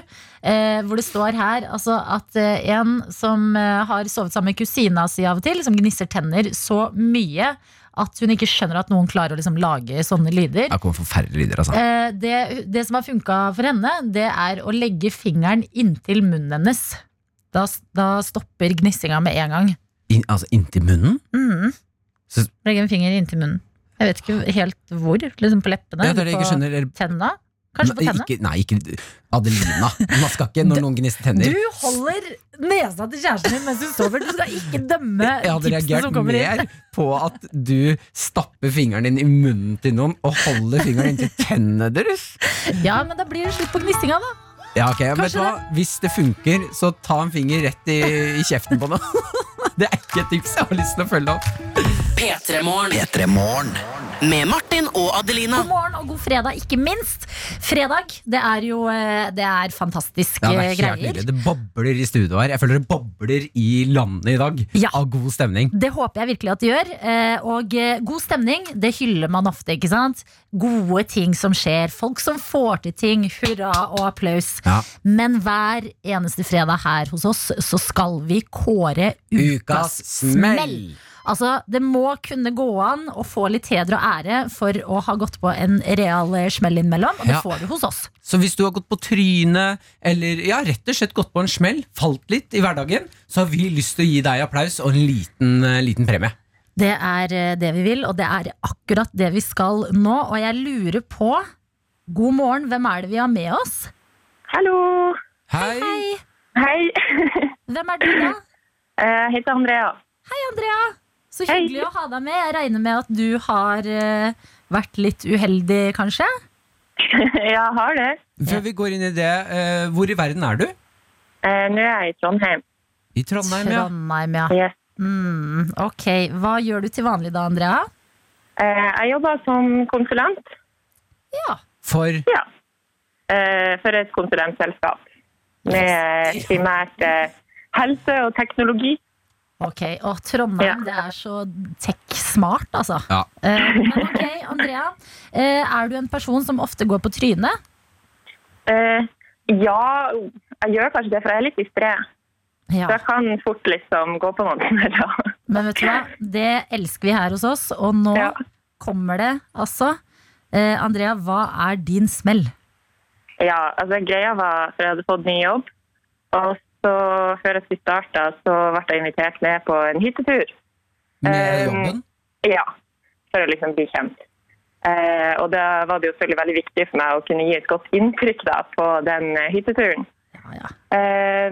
S3: eh, hvor det står her altså, at eh, en som eh, har sovet sammen med kusina si av og til, som gnisser tenner så mye at hun ikke skjønner at noen klarer å liksom, lage sånne lyder.
S4: Det kommer forferdelige lyder, altså.
S3: Eh, det, det som har funka for henne, det er å legge fingeren inntil munnen hennes. Da, da stopper gnissinga med en gang.
S4: In, altså Inntil munnen?
S3: Mm.
S4: Så-
S3: Legge en finger inntil munnen. Jeg vet ikke helt hvor. Liksom på leppene?
S4: Ja, det er det jeg ikke
S3: på
S4: skjønner. eller-
S3: tenna? Kanskje på
S4: Nei,
S3: tenna?
S4: Ikke, nei, ikke Adelina. Man skal ikke når noen gnister tenner.
S3: Du holder nesa til kjæresten din mens du sover! Du skal ikke dømme
S4: Jeg hadde
S3: tipsene som
S4: reagert
S3: kommer inn.
S4: mer på at du stapper fingeren din i munnen til noen og holder fingeren inntil tennene deres.
S3: Ja, men da blir det slutt på gnissinga, da.
S4: Ja, ok, men vet
S3: Kanskje
S4: du hva? Hvis det funker, så ta en finger rett i, i kjeften på noen. (laughs) Det er ikke et tips jeg har lyst til å følge opp.
S2: P3-morgen. Med Martin og Adelina.
S3: God morgen og god fredag, ikke minst. Fredag, det er jo eh, Det er fantastiske
S4: Ja, det, er helt
S3: greier.
S4: nydelig. det bobler i studio her. Jeg føler det bobler i landet i dag
S3: Ja.
S4: av god stemning.
S3: Det håper jeg virkelig at det gjør. eh, Og eh, god stemning, det hyller man ofte, ikke sant? Gode ting som skjer. Folk som får til ting. Hurra og applaus.
S4: Ja.
S3: Men hver eneste fredag her hos oss, så skal vi kåre ukas smell. Altså, det må kunne gå an å få litt heder og ære for å ha gått på en real eh, smell innimellom, og det
S4: Ja.
S3: får du hos oss.
S4: Så hvis du har gått på trynet, eller ja, rett og slett gått på en smell, falt litt i hverdagen, så har vi lyst til å gi deg applaus og en liten, eh, liten premie.
S3: Det er eh, det vi vil, og det er akkurat det vi skal nå. Og jeg lurer på God morgen, hvem er det vi har med oss?
S5: Hallo!
S4: Hei!
S3: Hei!
S5: Hei. (laughs)
S3: Hvem er du, da?
S5: Eh, Jeg heter (laughs) Andrea.
S3: Hei, Andrea! Så
S5: Hei.
S3: hyggelig å ha deg med. Jeg regner med at du har eh, vært litt uheldig, kanskje?
S5: Jeg har det.
S4: Før vi går inn i det, eh, hvor i verden er du?
S5: Eh, Nå er jeg i Trondheim.
S4: I Trondheim, ja.
S3: Trondheim, ja.
S5: Yes.
S3: Mm, ok. Hva gjør du til vanlig da, Andrea?
S5: Eh, Jeg jobber som konsulent
S3: Ja.
S4: For
S5: ja. Eh, for et konsulentselskap med primært eh, helse og teknologi.
S3: Ok, Og Trondheim,
S5: Ja.
S3: det er så tech-smart, altså.
S4: Ja.
S3: Eh, men ok, Andrea. eh, er du en person som ofte går på trynet?
S5: Eh, Ja, jeg gjør kanskje det, for jeg er litt distré.
S3: Ja.
S5: Så jeg kan fort liksom gå på noen (laughs) smeller.
S3: Men vet du hva? Det elsker vi her hos oss, og nå
S5: Ja.
S3: kommer det altså. Eh, Andrea, hva er din smell?
S5: Ja, altså greia var For jeg hadde fått ny jobb. Og så, før jeg skulle starte, så ble jeg invitert med på en hyttetur.
S4: med
S5: Eh,
S4: jobben?
S5: Ja, For å liksom bli kjent. Eh, og da var det jo selvfølgelig veldig viktig for meg å kunne gi et godt inntrykk da, på den eh, hytteturen.
S3: Ja, ja.
S5: Eh,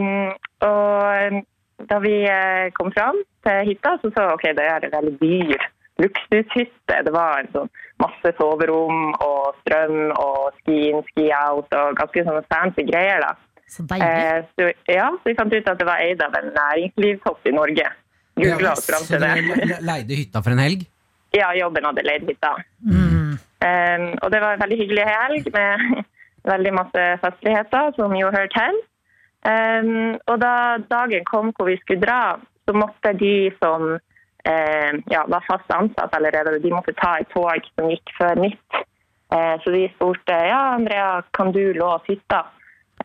S5: og da vi eh, kom fram til hytta, så så jeg ok, det er en veldig dyr luksushytte. Det var en sånn masse soverom og strøm og ski in, ski out og ganske sånne fancy greier. da.
S3: Så deilig.
S5: Eh, så, ja, så vi fant ut at det var eid av en næringslivstopp i Norge. Googla oss fram
S4: Så
S5: til
S4: dere
S5: det.
S4: le- leide hytta for en helg?
S5: Ja, jobben hadde leid hytta.
S3: Mm.
S5: Um, og det var en veldig hyggelig helg med (laughs) veldig masse festligheter, som jo hører til. Um, og da dagen kom hvor vi skulle dra, så måtte de som eh, ja, var fast ansatt allerede, de måtte ta et tog som gikk før mitt. Eh, så de spurte ja, Andrea, kan du låse hytta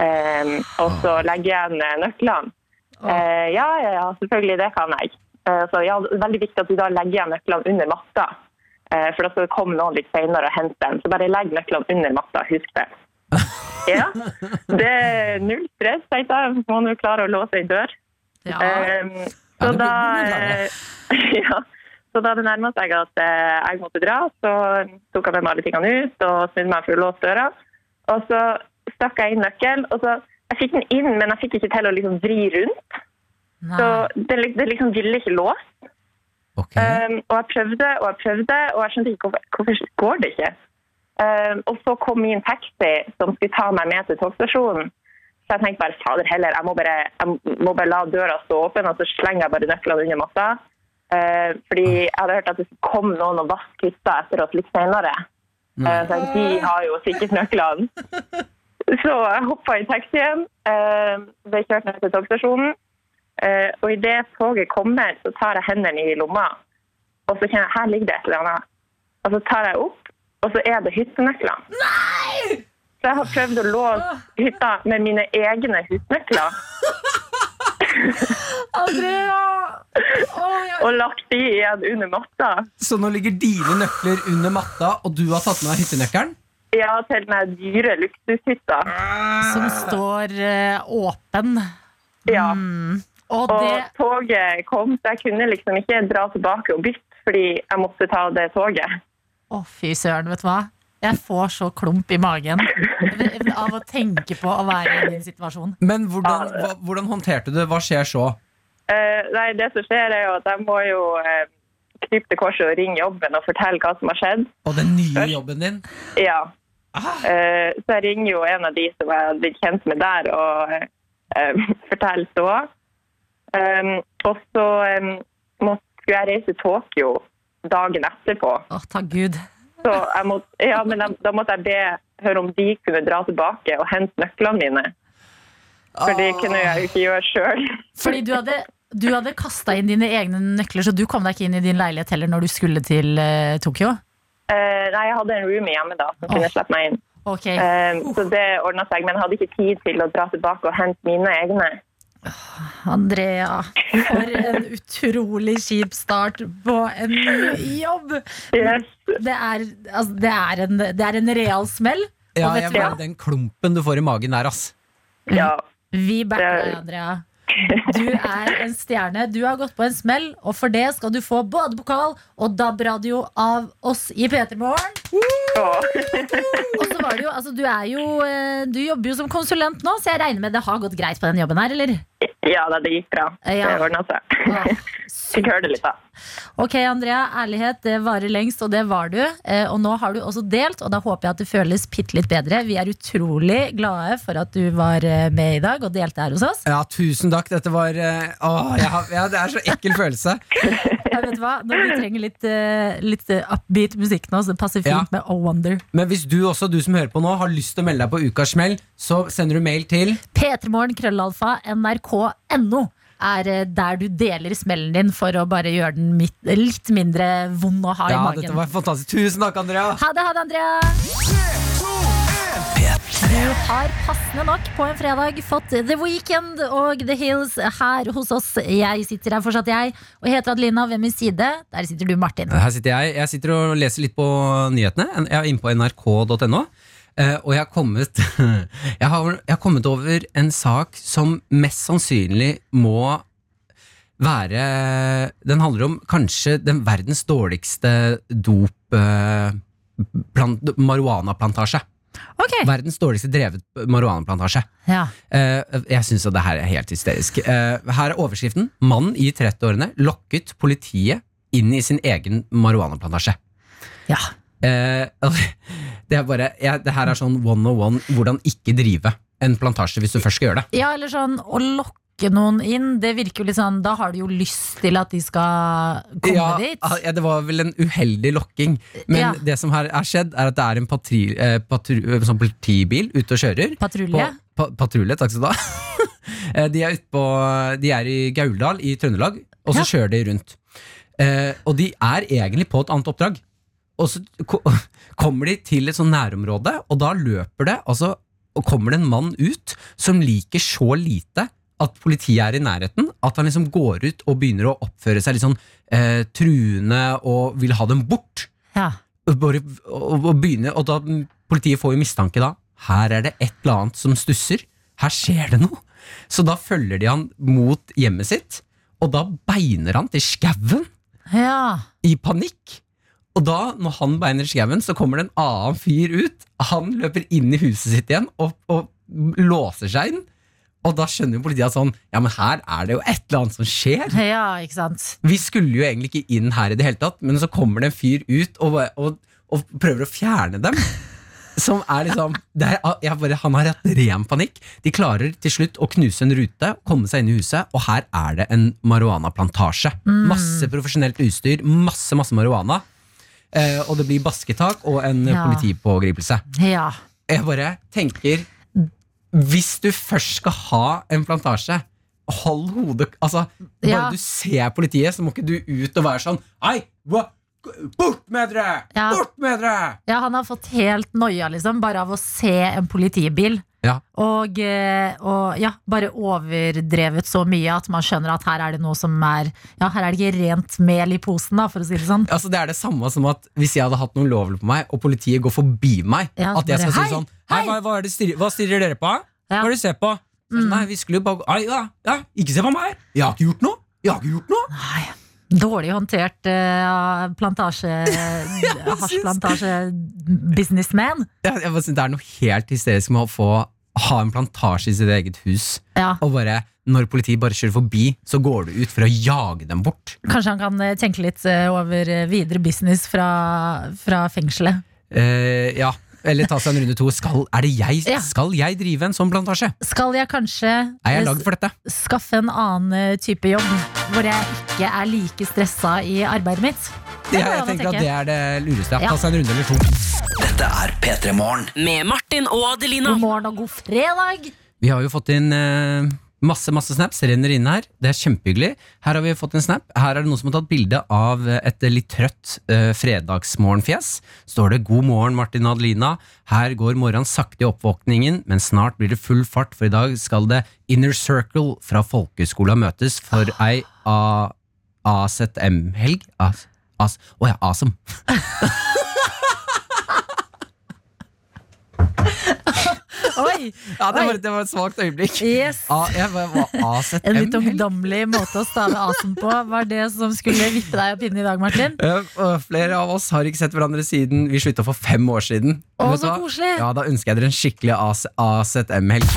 S5: um, og så legge igjen eh, nøklene. Eh, ja, ja, ja, selvfølgelig, det kan jeg. Eh, så ja, det er veldig viktig at du da legger igjen nøklene under matta. Eh, for da skal det komme noen litt senere og hente den. Så bare legg nøklene under matta, husk
S4: (laughs)
S5: det. Ja, det er null stress, tenkte jeg. Må nå klare å låse ei dør.
S3: Ja.
S5: Eh,
S4: Ja,
S5: så,
S4: det blir
S5: da,
S4: mye klare.
S5: eh, (laughs) ja, så da det nærma seg at eh, jeg måtte dra, så tok jeg med meg alle tingene ut og snudde meg for å låse døra. Og så stakk jeg inn nøkkelen. Og så, jeg fikk den inn, men jeg fikk ikke til å liksom vri rundt. Så
S3: Nei.
S5: det, li- det liksom ville ikke låse.
S4: Ok.
S5: Um, og jeg prøvde og jeg prøvde, og jeg skjønte ikke hvorfor, hvorfor går det ikke. Um, og så kom min taxi som skulle ta meg med til togstasjonen. Så jeg tenkte bare fader heller, jeg må bare, jeg må bare la døra stå åpen, og så slenger jeg bare nøklene under matta. Uh, fordi jeg hadde hørt at det kom noen og vasket hytta etter oss litt senere. Uh, så jeg, de har jo sikkert nøklene. ehm, Så jeg hoppa i taxien, uh, ble kjørt ned til togstasjonen. Eh, Og idet toget kommer, så tar jeg hendene i lomma, og så kjenner jeg her ligger det et eller annet. Og så tar jeg opp, og så er det hyttenøklene. Nei! Så jeg har prøvd å låse hytta med mine egne hyttenøkler,
S3: Andrea! Å, jeg-
S5: og lagt de igjen under matta.
S4: Så nå ligger dine nøkler under matta, og du har tatt med deg hyttenøkkelen?
S5: Ja, til den her dyre luksushytta.
S3: Som
S5: Ah.
S3: står eh, åpen.
S5: Ja.
S3: Og
S5: Og
S3: det
S5: toget kom, så jeg kunne liksom ikke dra tilbake og bytte, fordi jeg måtte ta det toget.
S3: Å, fy søren, vet du hva? Jeg får så klump i magen av å tenke på å være i din situasjon.
S4: Men hvordan, hva, hvordan håndterte du det? Hva skjer så?
S5: Eh, nei, det som skjer er jo at jeg må jo eh, krype til korset og ringe jobben og fortelle hva som har skjedd.
S4: Og den nye jobben din?
S5: Ja.
S3: Ah,
S5: Eh, så jeg ringer jo en av de som jeg hadde blitt kjent med der, og eh, (laughs) forteller ståa. Um, og så um, måtte, skulle jeg reise til Tokyo dagen etterpå.
S3: Å, takk Gud.
S5: Så jeg måtte, ja, men da, da måtte jeg be høre om de kunne dra tilbake og hente nøklene mine. For det kunne jeg jo ikke gjøre sjøl.
S3: Fordi du hadde, du hadde kasta inn dine egne nøkler, så du kom deg ikke inn i din leilighet heller når du skulle til eh, Tokyo?
S5: Eh, nei, jeg hadde en roomie hjemme da som kunne slippe meg inn.
S3: Ok,
S5: Eh, Så det ordna seg, men jeg hadde ikke tid til å dra tilbake og hente mine egne.
S3: Andrea. For en utrolig kjip start på en ny jobb!
S5: Yes.
S3: Det er, altså, det er, en, det er en real smell.
S4: Ja,
S3: Og vet
S4: jeg
S3: du hva?
S4: bare, den klumpen du får i magen der, ass.
S5: Ja.
S3: Vi backer
S5: Det
S3: deg,
S5: er-
S3: Andrea. Du er en stjerne. Du har gått på en smell, og for det skal du få både pokal og DAB-radio av oss i P3 Morgen.
S5: Og,
S3: Og så var det jo, altså, du er jo eh, Du jobber jo som konsulent nå, så jeg regner med det har gått greit på den jobben her, eller?
S5: ja da, det gikk bra. Det
S3: Ja.
S5: ordna seg.
S3: Åh,
S5: (laughs) Fikk høre det litt, da.
S3: Ok, Andrea. Ærlighet det varer lengst, og det var du. Eh, Og nå har du også delt, og da håper jeg at det føles bitte litt bedre. Vi er utrolig glade for at du var eh, med i dag og delte her hos oss.
S4: Ja, tusen takk. Dette var eh, Åh, jeg har, ja, det er så ekkel følelse.
S3: Ja, vet du hva? Når vi trenger litt, eh, litt eh, upbeat musikk nå, så det passer fint
S4: Ja.
S3: med Oh Wonder.
S4: Men hvis du også, du som hører på nå, har lyst til å melde deg på Ukas smell, så sender du mail til
S3: P3morgen, krøllalfa, nrk.no er eh, der du deler smellen din for å bare gjøre den mitt, litt mindre vond å ha i
S4: Ja,
S3: magen.
S4: dette var fantastisk. Tusen takk, Andrea.
S3: Ha det, ha det, Andrea! Du har passende nok på en fredag fått The Weekend og The Hills her hos oss. Jeg sitter her fortsatt, jeg, og heter Adelina. Ved min side, der sitter du, Martin.
S4: Her sitter jeg. Jeg sitter og leser litt på nyhetene. Jeg er inne på nrk.no. eh, Og jeg har, kommet, (laughs) jeg, har, jeg har kommet over en sak som mest sannsynlig må være Den handler om kanskje den verdens dårligste dop... eh, Plant, marihuanaplantasje.
S3: Ok.
S4: Verdens dårligste drevet marihuanaplantasje.
S3: Ja.
S4: Eh, jeg syns det her er helt hysterisk. Eh, her er overskriften. Mann i 30-årene lokket politiet inn i sin egen marihuanaplantasje.
S3: ja.
S4: Eh, (laughs) det, er bare, jeg- det her er sånn 101 hvordan ikke drive en plantasje hvis du først skal gjøre det.
S3: Ja, eller sånn å lokke noen inn, det virker jo litt sånn Da har du jo lyst til at de skal komme
S4: ja,
S3: dit.
S4: ah, ja, det var vel en uheldig lokking. Men
S3: Ja.
S4: det som her er skjedd, er at det er en patri, eh, patru, eh, sånn politibil ute og kjører.
S3: Patrulje.
S4: På, pa, patrulje, takk skal du ha. (laughs) Eh, de, er ute på, de er i Gauldal i Trøndelag, og så kjører de rundt. Eh, og de er egentlig på et annet oppdrag. Og så ko (laughs) kommer de til et sånt nærområde, og da løper det altså, og kommer det en mann ut som liker så lite at politiet er i nærheten, at han liksom går ut og begynner å oppføre seg litt sånn eh, truende og vil ha dem bort
S3: Ja.
S4: og bare og, og begynne, og da mm, politiet får jo mistanke da. Her er det et eller annet som stusser. Her skjer det noe. Så da følger de han mot hjemmet sitt, og da beiner han til skauen
S3: ja.
S4: i panikk. Og da, når han beiner skauen, så kommer det en annen fyr ut. Han løper inn i huset sitt igjen og, og låser seg inn. Og da skjønner jo politiet at sånn, ja, men her er det jo et eller annet som skjer.
S3: Ja, ikke sant.
S4: Vi skulle jo egentlig ikke inn her i det hele tatt, men så kommer det en fyr ut og, bare- og, og prøver å fjerne dem. Som er liksom det er, jeg bare, Han har hatt ren panikk. De klarer til slutt å knuse en rute, komme seg inn i huset, og her er det en marihuanaplantasje. Masse profesjonelt utstyr, masse masse marihuana. Eh, og det blir basketak og en
S3: Ja.
S4: politipågripelse.
S3: Ja.
S4: Jeg bare tenker Hvis du først skal ha en plantasje, hold hodet Altså, bare
S3: Ja.
S4: du ser politiet, så må ikke du ut og være sånn Hei, hva? Bort med dere!
S3: Ja.
S4: Bort med dere!
S3: Ja, han har fått helt noia, liksom, bare av å se en politibil.
S4: Ja.
S3: Og, eh, og ja, bare overdrevet så mye at man skjønner at her er det noe som er Ja, her er det ikke rent mel i posen, da, for å si det sånn.
S4: Altså, det er det samme som at hvis jeg hadde hatt noe ulovlig på meg, og politiet går forbi meg,
S3: Ja,
S4: at jeg
S3: bare,
S4: skal si
S3: «Hei,
S4: sånn Hei,
S3: hei!»
S4: hva, hva, er det stirrer, hva stirrer dere på? Hva
S3: Ja.
S4: er det du ser på? Så er det sånn, Nei, vi skulle jo bare Ai, ja, ja, ikke se på meg! Jeg har ikke gjort noe! Jeg har ikke gjort noe!
S3: Nei. Dårlig håndtert eh, plantasje...
S4: (laughs)
S3: Hasjplantasje-businessman.
S4: Jeg, jeg bare synes Det er noe helt hysterisk med å få ha en plantasje i sitt eget hus,
S3: Ja.
S4: og bare når politiet bare kjører forbi, så går du ut for å jage dem bort.
S3: Kanskje han kan eh, tenke litt eh, over eh, videre business fra, fra fengselet.
S4: Eh, ja, Eller ta seg en runde to. Skal, er det jeg,
S3: Ja.
S4: skal jeg drive en sånn plantasje?
S3: Skal jeg kanskje
S4: Er
S3: eh,
S4: jeg lagd for dette?
S3: skaffe en annen eh, type jobb hvor jeg ikke er like stressa i arbeidet mitt. Det
S4: Jeg,
S3: går
S4: jeg
S3: an å
S4: tenker at
S3: tenke.
S4: det er det lureste.
S3: Ja.
S4: Ta seg en runde eller to.
S6: Dette er P3 Morgen.
S2: Med Martin og Adelina.
S3: God morgen og god fredag!
S4: Vi har jo fått inn eh, masse masse snaps. Renner inn her. Det er kjempehyggelig. Her har vi fått en snap. Her er det noen som har tatt bilde av eh, et litt trøtt eh, fredagsmorgenfjes. Står det 'God morgen, Martin og Adelina'. Her går morgenen sakte i oppvåkningen, men snart blir det full fart, for i dag skal det Inner Circle fra folkehøgskolen møtes for ei A- AZM-helg. Å As Å ja, ASM.
S3: Oi!
S4: Ja, det
S3: Oi.
S4: var, det var et svakt øyeblikk.
S3: Yes!
S4: A, jeg, var- var
S3: En litt
S4: AZM-helg?
S3: ungdommelig måte å stave asen på var det som skulle vippe deg opp inn i dag, Martin.
S4: Ja, og Flere av oss har ikke sett hverandre siden vi slutta for fem år siden.
S3: Å,
S4: Vet du
S3: så
S4: hva?
S3: koselig.
S4: Ja, Da ønsker jeg dere en skikkelig AS AZM-helg.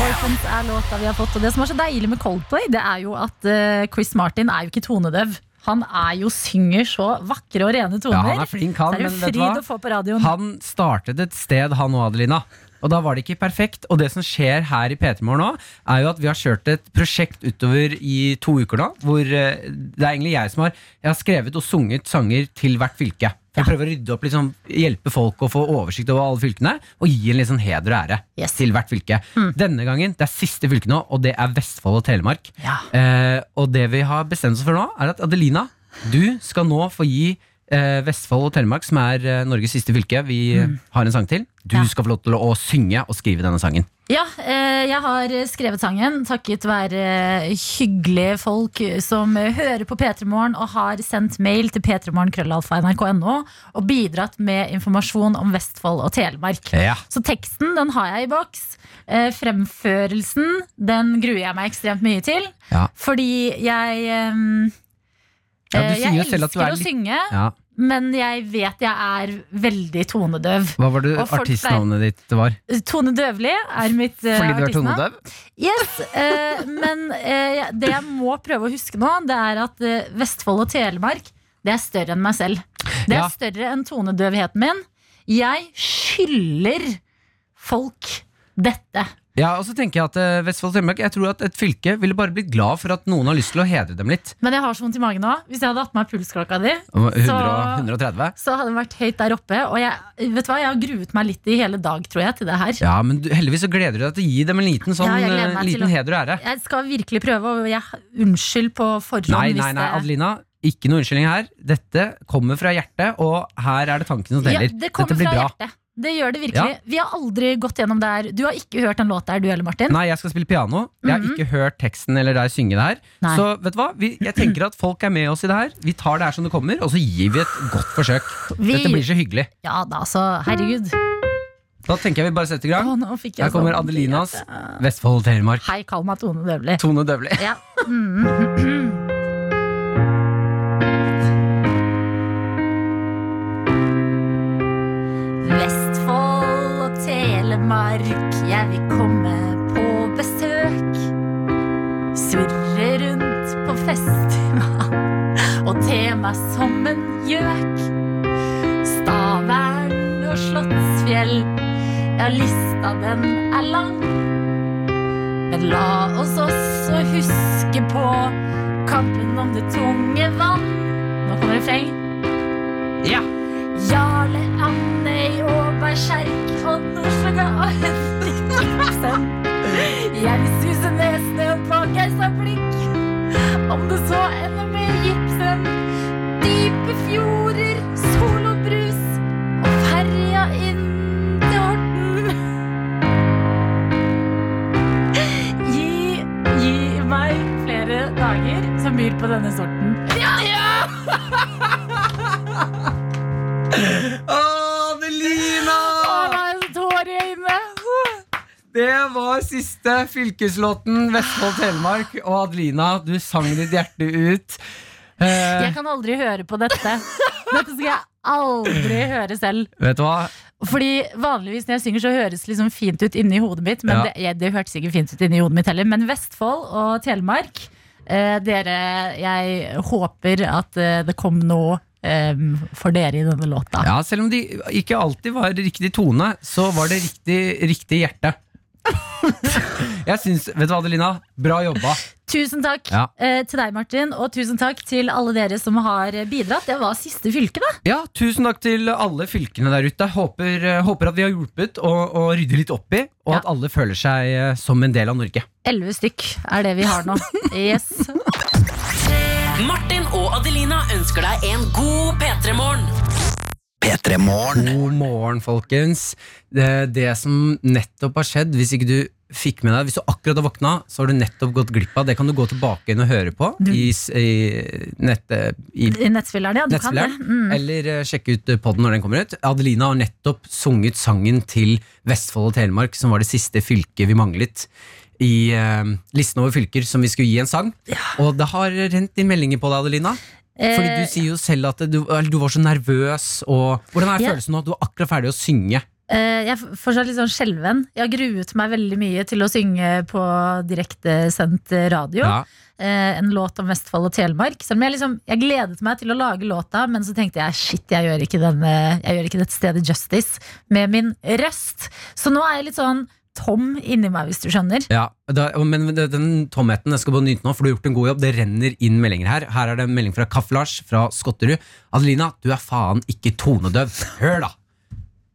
S3: Orphans er låta vi har fått. Og det som er så deilig med Coldplay, det er jo at eh, Chris Martin er jo ikke tonedøv. Han er jo synger så vakre og rene toner.
S4: Ja, han er flink, han,
S3: Så er det
S4: men
S3: jo
S4: vet du
S3: fryd
S4: hva?
S3: å få på radioen.
S4: Han startet et sted, han og Adelina. Og da var det ikke perfekt. Og det som skjer her i P3 Morgen nå, er jo at vi har kjørt et prosjekt utover i to uker nå, hvor eh, det er egentlig jeg som har Jeg har skrevet og sunget sanger til hvert fylke. Jeg prøver å rydde opp, liksom, hjelpe folk å få oversikt over alle fylkene, og gi en litt sånn heder og ære
S3: Yes.
S4: til hvert fylke. Denne gangen, det er siste fylke nå, og det er Vestfold og Telemark.
S3: Ja.
S4: Eh, og det vi har bestemt oss for nå, er at Adelina, du skal nå få gi eh, Vestfold og Telemark, som er eh, Norges siste fylke, vi eh, har en sang til. Du
S3: Mm. Ja.
S4: skal få lov til å synge og skrive denne sangen.
S3: Ja, eh, jeg har skrevet sangen takket være eh, hyggelige folk som eh, hører på P3morgen og har sendt mail til p3morgen.krøllalfa.nrk.no og bidratt med informasjon om Vestfold og Telemark.
S4: Ja.
S3: Så teksten den har jeg i boks. Eh, Fremførelsen den gruer jeg meg ekstremt mye til.
S4: Ja.
S3: Fordi jeg ehm,
S4: Ja, du
S3: eh,
S4: sier jo
S3: Jeg
S4: selv at du
S3: elsker
S4: er
S3: å
S4: litt-
S3: synge, men jeg vet jeg er veldig tonedøv.
S4: Hva var det
S3: Og folk
S4: artistnavnet ditt var?
S3: Tone Døvli er mitt eh,
S4: Fordi du er
S3: artistnavn.
S4: tonedøv?
S3: Yes, eh, men eh, det jeg må prøve å huske nå, det er at eh, Vestfold og Telemark det er større enn meg selv. Det er
S4: Ja.
S3: større enn tonedøvheten min. Jeg skylder folk dette.
S4: Ja, og så tenker jeg at eh, Vestfold og Telemark Jeg tror at et fylke ville bare blitt glad for at noen har lyst til å hedre dem litt.
S3: Men jeg har så vondt i magen nå. Hvis jeg hadde hatt meg pulsklokka di,
S4: 100,
S3: Så-
S4: 130.
S3: så hadde det vært høyt der oppe. Og jeg, vet du hva, jeg har gruet meg litt i hele dag, tror jeg, til det her.
S4: Ja, men du, heldigvis så gleder du deg til å gi dem en liten, sånn,
S3: Ja, jeg gleder
S4: eh,
S3: meg til
S4: liten
S3: å-
S4: heder og ære.
S3: Jeg skal virkelig prøve, og jeg unnskyld på forhånd.
S4: Nei, nei,
S3: hvis
S4: nei,
S3: det-
S4: Adelina. Ikke noe unnskyldning her. Dette kommer fra hjertet, og her er det tanken som teller.
S3: Ja, det
S4: Dette
S3: kommer
S4: blir
S3: fra
S4: bra.
S3: hjertet. Det gjør det virkelig. Vi har aldri gått gjennom det her. Du har ikke hørt den låta her, du heller, Martin.
S4: Nei, jeg skal spille piano. Jeg har ikke hørt teksten eller deg synge det her.
S3: Mhm. Nei.
S4: Så vet du hva? Vi, jeg tenker at folk er med oss i det her. Vi tar det her som det kommer, og så gir vi et godt forsøk.
S3: Vi-
S4: Dette blir så hyggelig.
S3: Ja da, altså. Herregud.
S4: Da tenker jeg vi bare setter i gang.
S3: Å, nå fikk jeg
S4: Her kommer
S3: sånn-
S4: Adelinas Vestfold og Telemark.
S3: Hei, kall meg Tone Døvli.
S4: Tone Døvli.
S3: Ja. Mm. Vestfold og Telemark, jeg vil komme på besøk. Surre rundt på festival og te meg som en gjøk. Stavern og Slottsfjell, ja, lista den er lang. Men la oss også huske på kampen om det tunge vann. Nå kommer refrenget.
S4: Ja.
S3: Jarle Andøy og Berserk og Nord på denne sorten.
S4: Adelina!
S3: Å, det er så tårer i øynene!
S4: Det var siste fylkeslåten Vestfold-Telemark. Og Adelina, du sang ditt hjerte ut. Eh,
S3: Jeg kan aldri høre på dette. Dette skal jeg aldri høre selv.
S4: vet du hva?
S3: Fordi vanligvis når jeg synger, så høres det liksom fint ut inni hodet mitt. Men
S4: Ja.
S3: det, jeg, det hørtes ikke fint ut inni hodet mitt heller. Men Vestfold og Telemark, eh, dere Jeg håper at eh, det kom noe eh, for dere i denne låta.
S4: Ja, Selv om de ikke alltid var riktig tone, så var det riktig, riktig hjerte. Jeg syns, Vet du hva, Adelina? Bra jobba.
S3: Tusen takk
S4: Ja.
S3: eh, til deg, Martin, og tusen takk til alle dere som har bidratt. Det var siste fylke, da.
S4: Ja, Tusen takk til alle fylkene der ute. Håper, eh, håper at vi har hjulpet å, å rydde litt opp i, og
S3: Ja.
S4: at alle føler seg eh, som en del av Norge.
S3: Elleve stykk er det vi har
S4: (laughs)
S3: nå. Yes.
S2: Martin og Adelina ønsker deg en god P3-morgen.
S6: P3 Morgen.
S4: God morgen, folkens. Det, det som nettopp har skjedd, hvis ikke du fikk med deg Hvis du akkurat har våkna, så har du nettopp gått glipp av. Det kan du gå tilbake inn og høre på i, s- i, nettet, i
S3: I nettspilleren, ja. Du kan det. Mm.
S4: nettspilleren. Eller eh, sjekke ut podden når den kommer ut. Adelina har nettopp sunget sangen til Vestfold og Telemark, som var det siste fylket vi manglet. I eh, listen over fylker som vi skulle gi en sang. Og det har rent inn meldinger på deg, Adelina. Fordi
S3: Eh,
S4: du sier jo selv at du, eller du var så nervøs. Og, hvordan er
S3: Ja.
S4: følelsen nå? Du er akkurat ferdig å synge.
S3: Eh, jeg er fortsatt litt sånn skjelven. Jeg har gruet meg veldig mye til å synge på direktesendt radio.
S4: Ja.
S3: Eh, en låt om Vestfold og Telemark. Selv om jeg, liksom, jeg gledet meg til å lage låta, men så tenkte jeg shit, jeg gjør ikke, denne, jeg gjør ikke dette stedet justice med min røst. Så nå er jeg litt sånn tom inni meg, hvis du skjønner.
S4: Ja, da, men det- den tomheten den skal du bare nyte nå, for du har gjort en god jobb. Det renner inn meldinger her. Her er det en melding fra Kaff-Lars fra Skotterud. Adelina, du er faen ikke tonedøv. Hør, da!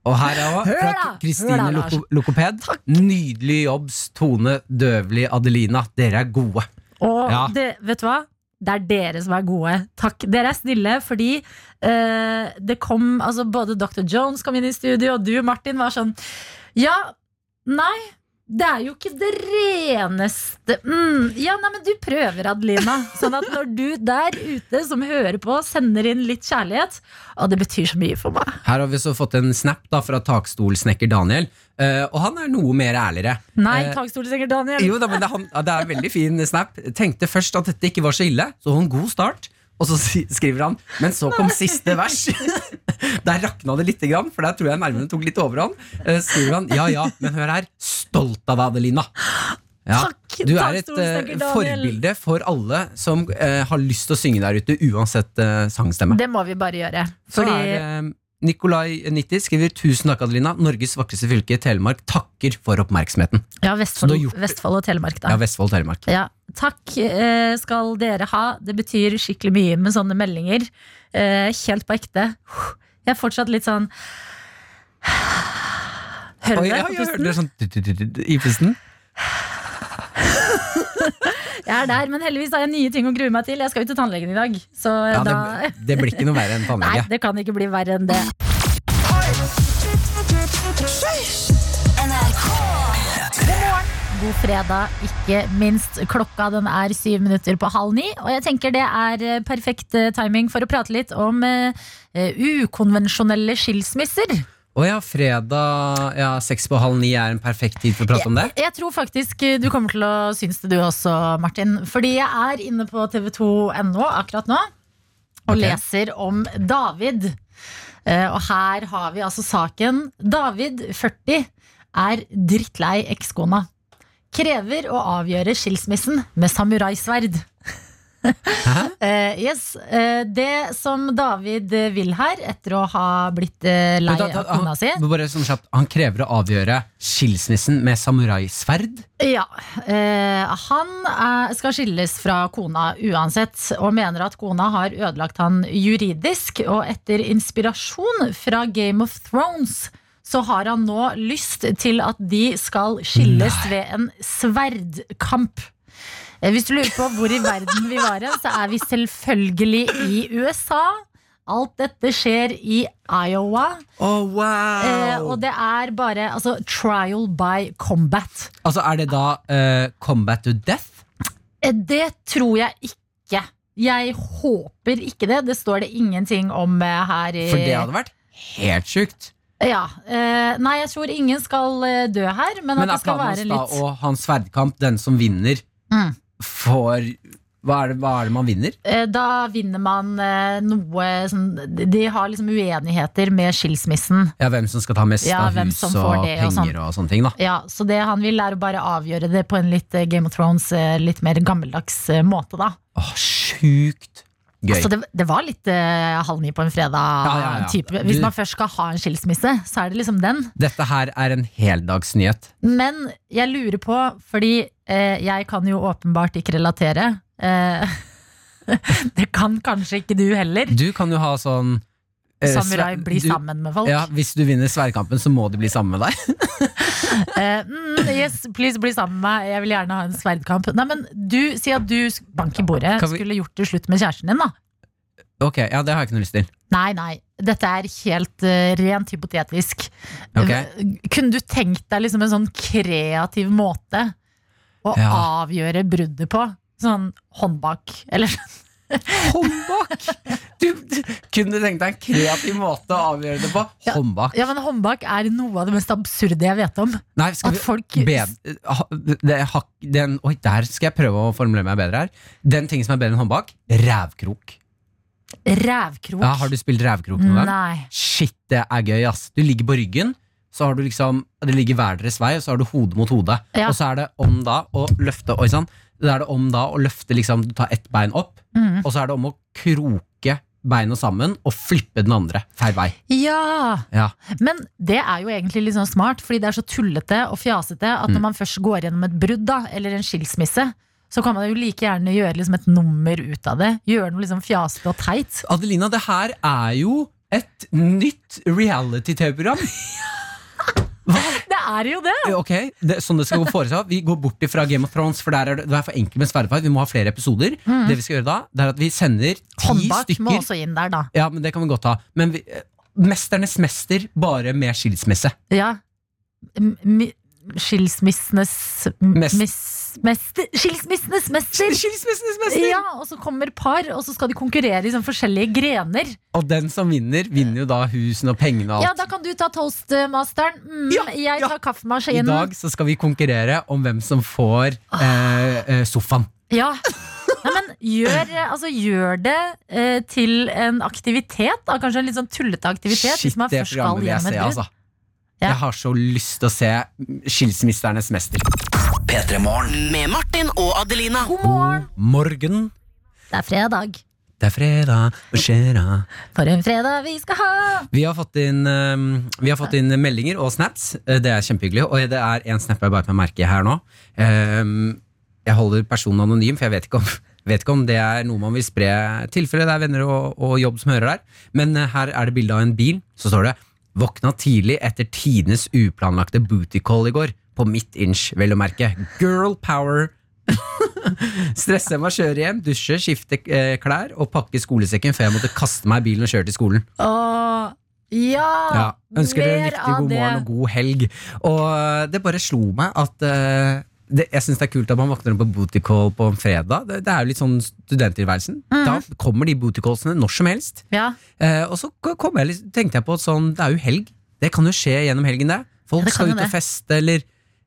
S4: Og her er også
S3: Hør
S4: fra
S3: da!
S4: Kristine
S3: Hør da, Lars.
S4: Loko Lokoped. Nydelig jobbs, Tone Døvli, Adelina. Dere er gode.
S3: Og
S4: Ja.
S3: det, vet du hva? Det er dere som er gode. Takk. Dere er snille, fordi eh, det kom altså Både Dr. Jones kom inn i studio, og du, Martin, var sånn Ja, nei, det er jo ikke det reneste mm, Ja, nei, men du prøver, Adelina. Sånn at når du der ute som hører på, sender inn litt kjærlighet Og det betyr så mye for meg.
S4: Her har vi så fått en snap da fra takstolsnekker Daniel, eh, og han er noe mer ærligere.
S3: Nei,
S4: Eh,
S3: takstolsenger Daniel.
S4: Jo da, men det, er han, ja, det er en veldig fin snap. Tenkte først at dette ikke var så ille, så en god start. Og så si- skriver han Men så kom siste vers. (laughs) Der rakna det lite grann, for der tror jeg nervene tok litt overhånd. Eh, Skriver han ja ja, men hør her. Stolt av deg, Adelina. Ja,
S3: Takk,
S4: du
S3: takk,
S4: er et eh,
S3: storsteker Daniel.
S4: forbilde for alle som eh, har lyst til å synge der ute, uansett eh, sangstemme.
S3: Det må vi bare gjøre.
S4: Så
S3: Fordi
S4: er eh, Nikolai 90 skriver 'Tusen takk, Adelina. Norges vakreste fylke, Telemark, takker for oppmerksomheten'.
S3: ja, Vestfold,
S4: du har gjort-
S3: Vestfold og Telemark, da.
S4: Ja, Vestfold, Telemark.
S3: Ja, takk eh, skal dere ha. Det betyr skikkelig mye med sånne meldinger. Eh, Helt på ekte. Jeg er fortsatt litt sånn Hører
S4: Oi,
S3: du det
S4: ja,
S3: på
S4: jeg hørte det
S3: pusten?
S4: sånn tut-tut-tut i pusten.
S3: Jeg er der, men heldigvis har jeg nye ting å grue meg til. Jeg skal jo til tannlegen i dag. Så eh,
S4: Ja,
S3: da
S4: det, det blir ikke noe verre enn
S3: Nei,
S4: tannlege.
S3: det kan ikke bli verre enn det. God fredag, ikke minst. Klokka den er syv minutter på halv ni. Og jeg tenker det er eh, perfekt eh, timing for å prate litt om eh, eh, ukonvensjonelle skilsmisser.
S4: Å ja, fredag ja, seks på halv ni er en perfekt tid for å prate om det.
S3: Jeg tror faktisk eh, du kommer til å synes det du også, Martin. Fordi jeg er inne på tv2.no akkurat nå og
S4: Ok.
S3: leser om David. Eh, og her har vi altså saken. David, 40, er drittlei ekskona. Krever å avgjøre skilsmissen med samuraisverd. (laughs) Eh, yes, eh, Det som David eh, vil her, etter å ha blitt eh, lei
S4: Men da- da-
S3: av kona si
S4: han, bare sånn kjapt, han krever å avgjøre skilsmissen med samuraisverd.
S3: Ja. Eh, han er, skal skilles fra kona uansett, og mener at kona har ødelagt han juridisk. Og etter inspirasjon fra Game of Thrones så har han nå lyst til at de skal skilles ved en sverdkamp. Eh, Hvis du lurer på hvor i verden vi var hen, så er vi selvfølgelig i USA. Alt dette skjer i Iowa,
S4: Oh,
S3: eh,
S4: wow!
S3: og det er bare altså, trial by combat.
S4: altså, er det da eh, combat to death?
S3: Eh, Det tror jeg ikke. Jeg håper ikke det. Det står det ingenting om eh, her. i
S4: For det hadde vært helt sjukt.
S3: Ja. eh, nei, jeg tror ingen skal eh, dø her, men,
S4: Men
S3: at
S4: er
S3: det skal være
S4: planen hans da
S3: litt
S4: å ha en sverdkamp? Den som vinner,
S3: Mm.
S4: får hva er, det, hva er det man vinner?
S3: Eh, Da vinner man eh, noe sånn De har liksom uenigheter med skilsmissen.
S4: Ja, Hvem som skal ta mest
S3: Ja,
S4: av
S3: hvem
S4: hus
S3: som
S4: og
S3: får det
S4: penger
S3: og sånn.
S4: og, sånne ting. da
S3: Ja, Så det han vil, er å bare avgjøre det på en litt eh, Game of Thrones, eh, litt mer gammeldags eh, måte, da.
S4: Åh, Sjukt gøy.
S3: Så Altså, det, det var litt eh, halv ni på en fredag.
S4: ja, ja.
S3: Type.
S4: Du-
S3: Hvis man først skal ha en skilsmisse, så er det liksom den.
S4: Dette her er en heldagsnyhet.
S3: Men jeg lurer på, fordi eh, jeg kan jo åpenbart ikke relatere. Eh, (laughs) det kan kanskje ikke du heller.
S4: Du kan jo ha sånn eh,
S3: Samurai
S4: sve-
S3: blir
S4: du-
S3: sammen med folk.
S4: Ja, Hvis du vinner sverdkampen, så må de bli sammen med deg. (laughs)
S3: Eh, mm, yes, please bli sammen med meg. Jeg vil gjerne ha en sverdkamp. Nei, men du, Si at du sk- bank i bordet,
S4: Kan vi-
S3: skulle gjort det slutt med kjæresten din, da.
S4: Ok, ja, Det har jeg ikke noe lyst til.
S3: Nei, nei. Dette er helt eh, rent hypotetisk. Eh,
S4: Ok.
S3: Kunne du tenkt deg liksom en sånn kreativ måte å
S4: Ja.
S3: avgjøre bruddet på? Sånn hånd bak, eller
S4: (laughs) Håndbak! Du, du kunne tenkt deg en kreativ måte å avgjøre det på.
S3: Ja,
S4: Håndbak.
S3: Ja, men håndbak er noe av det mest absurde jeg vet om.
S4: Nei, skal
S3: At
S4: vi
S3: folk
S4: bed- ha- det, hak- den, Oi, der skal jeg prøve å formulere meg bedre her. Den tingen som er bedre enn håndbak, rævkrok.
S3: Rævkrok.
S4: Ja, har du spilt rævkrok noen gang?
S3: Nei.
S4: Shit, det er gøy, ass. Du ligger på ryggen, så har du liksom Det ligger hver deres vei, og så har du hodet mot hodet.
S3: Ja.
S4: Og så er det om da å løfte Oi sann. Da er det om da å løfte liksom Du tar ett bein opp,
S3: Mhm.
S4: og så er det om å kroke beina sammen og flippe den andre feil vei.
S3: Ja!
S4: Ja.
S3: Men det er jo egentlig litt sånn smart, fordi det er så tullete og fjasete at
S4: Mm.
S3: når man først går gjennom et brudd da, eller en skilsmisse, så kan man jo like gjerne gjøre liksom et nummer ut av det. Gjøre noe liksom fjasete og teit.
S4: Adelina, det her er jo et nytt reality-TV-program. Eh,
S3: Det er jo det!
S4: Ok, det, er Sånn det skal gå for seg. Vi går bort fra Game of Thrones, for der er det, det er for enkelt med sverdfight. Vi må ha flere episoder. Det vi skal gjøre da, det er at vi sender ti
S3: Mm. Håndbak må
S4: stykker.
S3: også inn der, da.
S4: Ja, men det kan vi godt ha. Men vi, eh, Mesternes mester, bare med skilsmisse.
S3: Ja. M- mi- Skilsmissenes
S4: Mest-
S3: mis- mester. Skilsmissenes mester!
S4: Skilsmissenes
S3: Ja, og så kommer par, og så skal de konkurrere i sånne forskjellige grener.
S4: Og den som vinner, vinner jo da husene og pengene og
S3: Ja,
S4: alt.
S3: da kan du ta toastmasteren. Mm,
S4: Ja,
S3: jeg
S4: ja.
S3: tar
S4: I
S3: kaffemaskinen.
S4: dag så skal vi konkurrere om hvem som får
S3: Ah.
S4: eh, eh, sofaen.
S3: Ja. Nei, men gjør, altså, gjør det eh, til en aktivitet, da. Kanskje en litt sånn tullete aktivitet. hvis man først skal
S4: vil jeg
S3: gjennom et
S4: se,
S3: brudd.
S4: altså.
S3: Ja.
S4: Jeg har så lyst til å se Skilsmisternes mester.
S7: P3morgen.
S2: Med Martin og Adelina.
S3: God morgen!
S4: Morgen,
S3: Det er fredag.
S4: det er fredag, hva skjer da?
S3: For en fredag vi skal ha!
S4: Vi har fått inn, ehm, vi har fått inn meldinger og snaps. Eh, Det er kjempehyggelig. Og det er en snap jeg bare kan merke her nå. Ehm, Jeg holder personen anonym, for jeg vet ikke om, (laughs) vet ikke om det er noe man vil spre. tilfelle det er venner og, og jobb som hører der. Men eh, her er det bilde av en bil. Så står det 'Våkna tidlig etter tidenes uplanlagte booty call i går'. På mitt inch, vel å merke. Girl power. (laughs) Stressa med å kjøre hjem, dusje, skifte eh, klær og pakke skolesekken før jeg måtte kaste meg i bilen og kjøre til skolen.
S3: Åh, ja!
S4: Ja, ønsker dere en
S3: mer
S4: riktig
S3: av
S4: god
S3: det.
S4: morgen og god helg. Og eh, det bare slo meg at eh, det, jeg syns det er kult at man våkner opp på booty call på en fredag. Det, det er jo litt sånn studenttilværelsen.
S3: Mm.
S4: Da kommer de booty callsene når som helst.
S3: Ja.
S4: Eh, og så k- kom jeg, litt- tenkte jeg på at sånn, det er jo helg. Det kan jo skje gjennom helgen, det.
S3: Ja,
S4: Folk
S3: det kan
S4: skal
S3: jo
S4: ut
S3: det.
S4: og feste, eller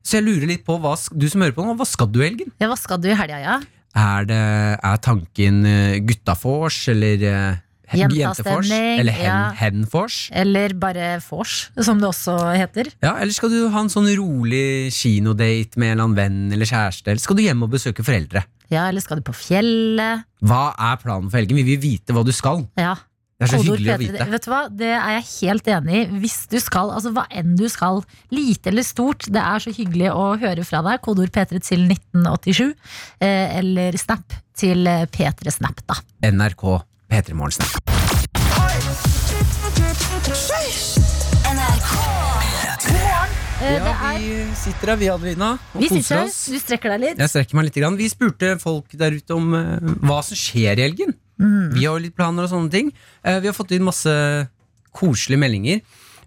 S4: Så jeg lurer litt på, hva, sk- du som hører på nå, hva skal du i helgen?
S3: ja, hva skal du i helga, ja?
S4: Er, det, er tanken eh, guttafors, eller eh, hen- jentefors?
S3: Jentastemning,
S4: Eller hen,
S3: ja.
S4: henfors?
S3: Eller bare vors, som det også heter.
S4: Ja, Eller skal du ha en sånn rolig kinodate med en eller annen venn eller kjæreste? Eller skal du hjem og besøke foreldre?
S3: Ja, eller skal du på fjellet?
S4: Hva er planen for helgen? Vi vil vite hva du skal.
S3: Ja.
S4: Det er så
S3: Kodord
S4: hyggelig å
S3: P3.
S4: vite.
S3: Vet du hva, Det er jeg helt enig i. Hvis du skal, altså Hva enn du skal, lite eller stort, det er så hyggelig å høre fra deg. Kodord P3 til 1987, eh, eller Snap til eh, P3 Snap, da.
S4: NRK P3 Morgensen.
S3: Eh, det er,
S4: vi sitter her, vi, Adelina, og
S3: vi
S4: koser
S3: sitter her,
S4: oss.
S3: du strekker deg litt.
S4: Jeg strekker meg litt. Grann. Vi spurte folk der ute om eh, hva som skjer i helgen. Vi har jo litt planer og sånne ting. Eh, vi har fått inn masse koselige meldinger.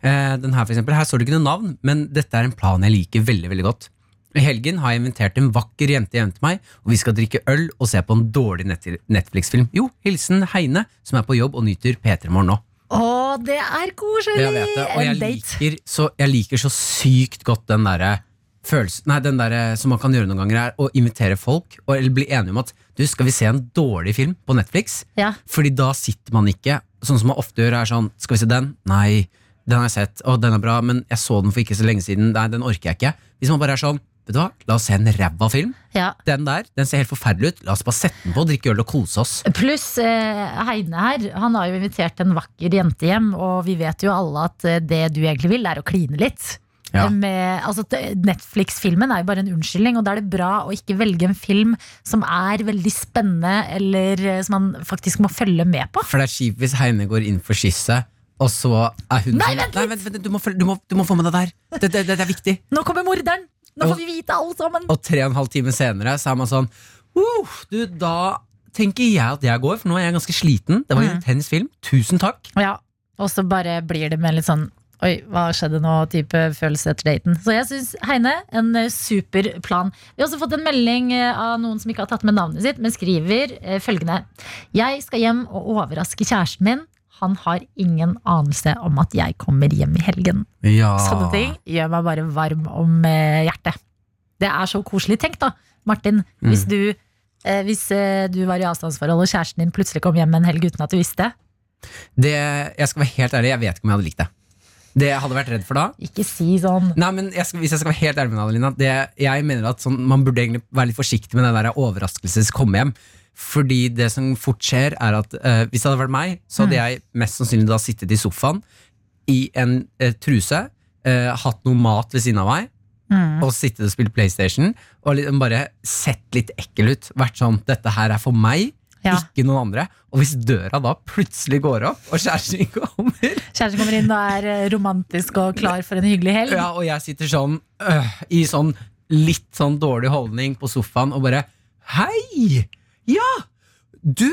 S4: Eh, den her, for eksempel. Her står det ikke noe navn, men dette er en plan jeg liker veldig veldig godt. I helgen har jeg invitert en vakker jente hjem til meg, og vi skal drikke øl og se på en dårlig net- Netflix-film. Jo, hilsen Heine, som er på jobb og nyter P3 Morgen nå.
S3: Å, det er koselig!
S4: Jeg vet det, og jeg
S3: En date.
S4: liker, så, jeg liker så sykt godt den derre følelsen Nei, den derre som man kan gjøre noen ganger, er å invitere folk, og, eller bli enige om at du, skal vi se en dårlig film på Netflix?
S3: Ja.
S4: Fordi da sitter man ikke Sånn som man ofte gjør er sånn Skal vi se den? Nei, den har jeg sett Å, den er bra, men jeg så den for ikke så lenge siden Nei, den orker jeg ikke Hvis man bare er sånn Vet du hva? La oss se en ræva film
S3: Ja.
S4: Den der, den ser helt forferdelig ut La oss bare sette den på, drikke øl og kose oss
S3: Pluss eh, Heine her, han har jo invitert en vakker jente hjem, og vi vet jo alle at eh, det du egentlig vil, er å kline litt.
S4: Ja.
S3: Eh, Med, altså, t- Netflix-filmen er jo bare en unnskyldning, og da er det bra å ikke velge en film som er veldig spennende, eller eh, som man faktisk må følge med på.
S4: For det er kjipt hvis Heine går inn for kysset Og så er hun
S3: Nei,
S4: sånn
S3: vent litt!
S4: Nei, vent, vent, du må, følge- du, må, du må få med deg der det, det, det, det er viktig
S3: Nå kommer morderen! Nå
S4: Og-
S3: får vi vite alt sammen!
S4: Og tre og en halv time senere så er man sånn uh, Du, da tenker jeg at jeg går For nå er jeg ganske sliten Det
S3: Mm.
S4: var en intens film, tusen takk
S3: Ja, og så bare blir det med litt sånn Oi, hva skjedde nå? type følelse etter daten. Så jeg syns Heine, en eh, super plan. Vi har også fått en melding eh, av noen som ikke har tatt med navnet sitt, men skriver eh, følgende. Jeg skal hjem og overraske kjæresten min. Han har ingen anelse om at jeg kommer hjem i helgen.
S4: Ja.
S3: Sånne ting gjør meg bare varm om eh, hjertet. Det er så koselig. Tenk da, Martin, hvis du eh, hvis eh, du var i avstandsforhold og kjæresten din plutselig kom hjem en helg uten at du visste.
S4: Det, jeg skal være helt ærlig, jeg vet ikke om jeg hadde likt det. Det jeg hadde vært redd for da
S3: Ikke si sånn.
S4: Nei, men jeg skal, Hvis jeg skal være helt ærlig med deg, Adelina det, Jeg mener at sånn, Man burde egentlig være litt forsiktig med den der overraskelses-komme-hjem. Fordi det som fort skjer, er at eh, hvis det hadde vært meg, så hadde jeg mest sannsynlig da sittet i sofaen i en eh, truse, eh, hatt noe mat ved siden av meg, og sittet og spilt PlayStation og liksom bare sett litt ekkel ut. Vært sånn 'Dette her er for meg,
S3: Ja.
S4: ikke noen andre'. Og hvis døra da plutselig går opp, og kjæresten din kommer
S3: Kjæresten kommer inn og er eh, romantisk og klar for en hyggelig helg.
S4: Ja, og jeg sitter sånn øh, i sånn litt sånn dårlig holdning på sofaen og bare Hei! Ja! Du,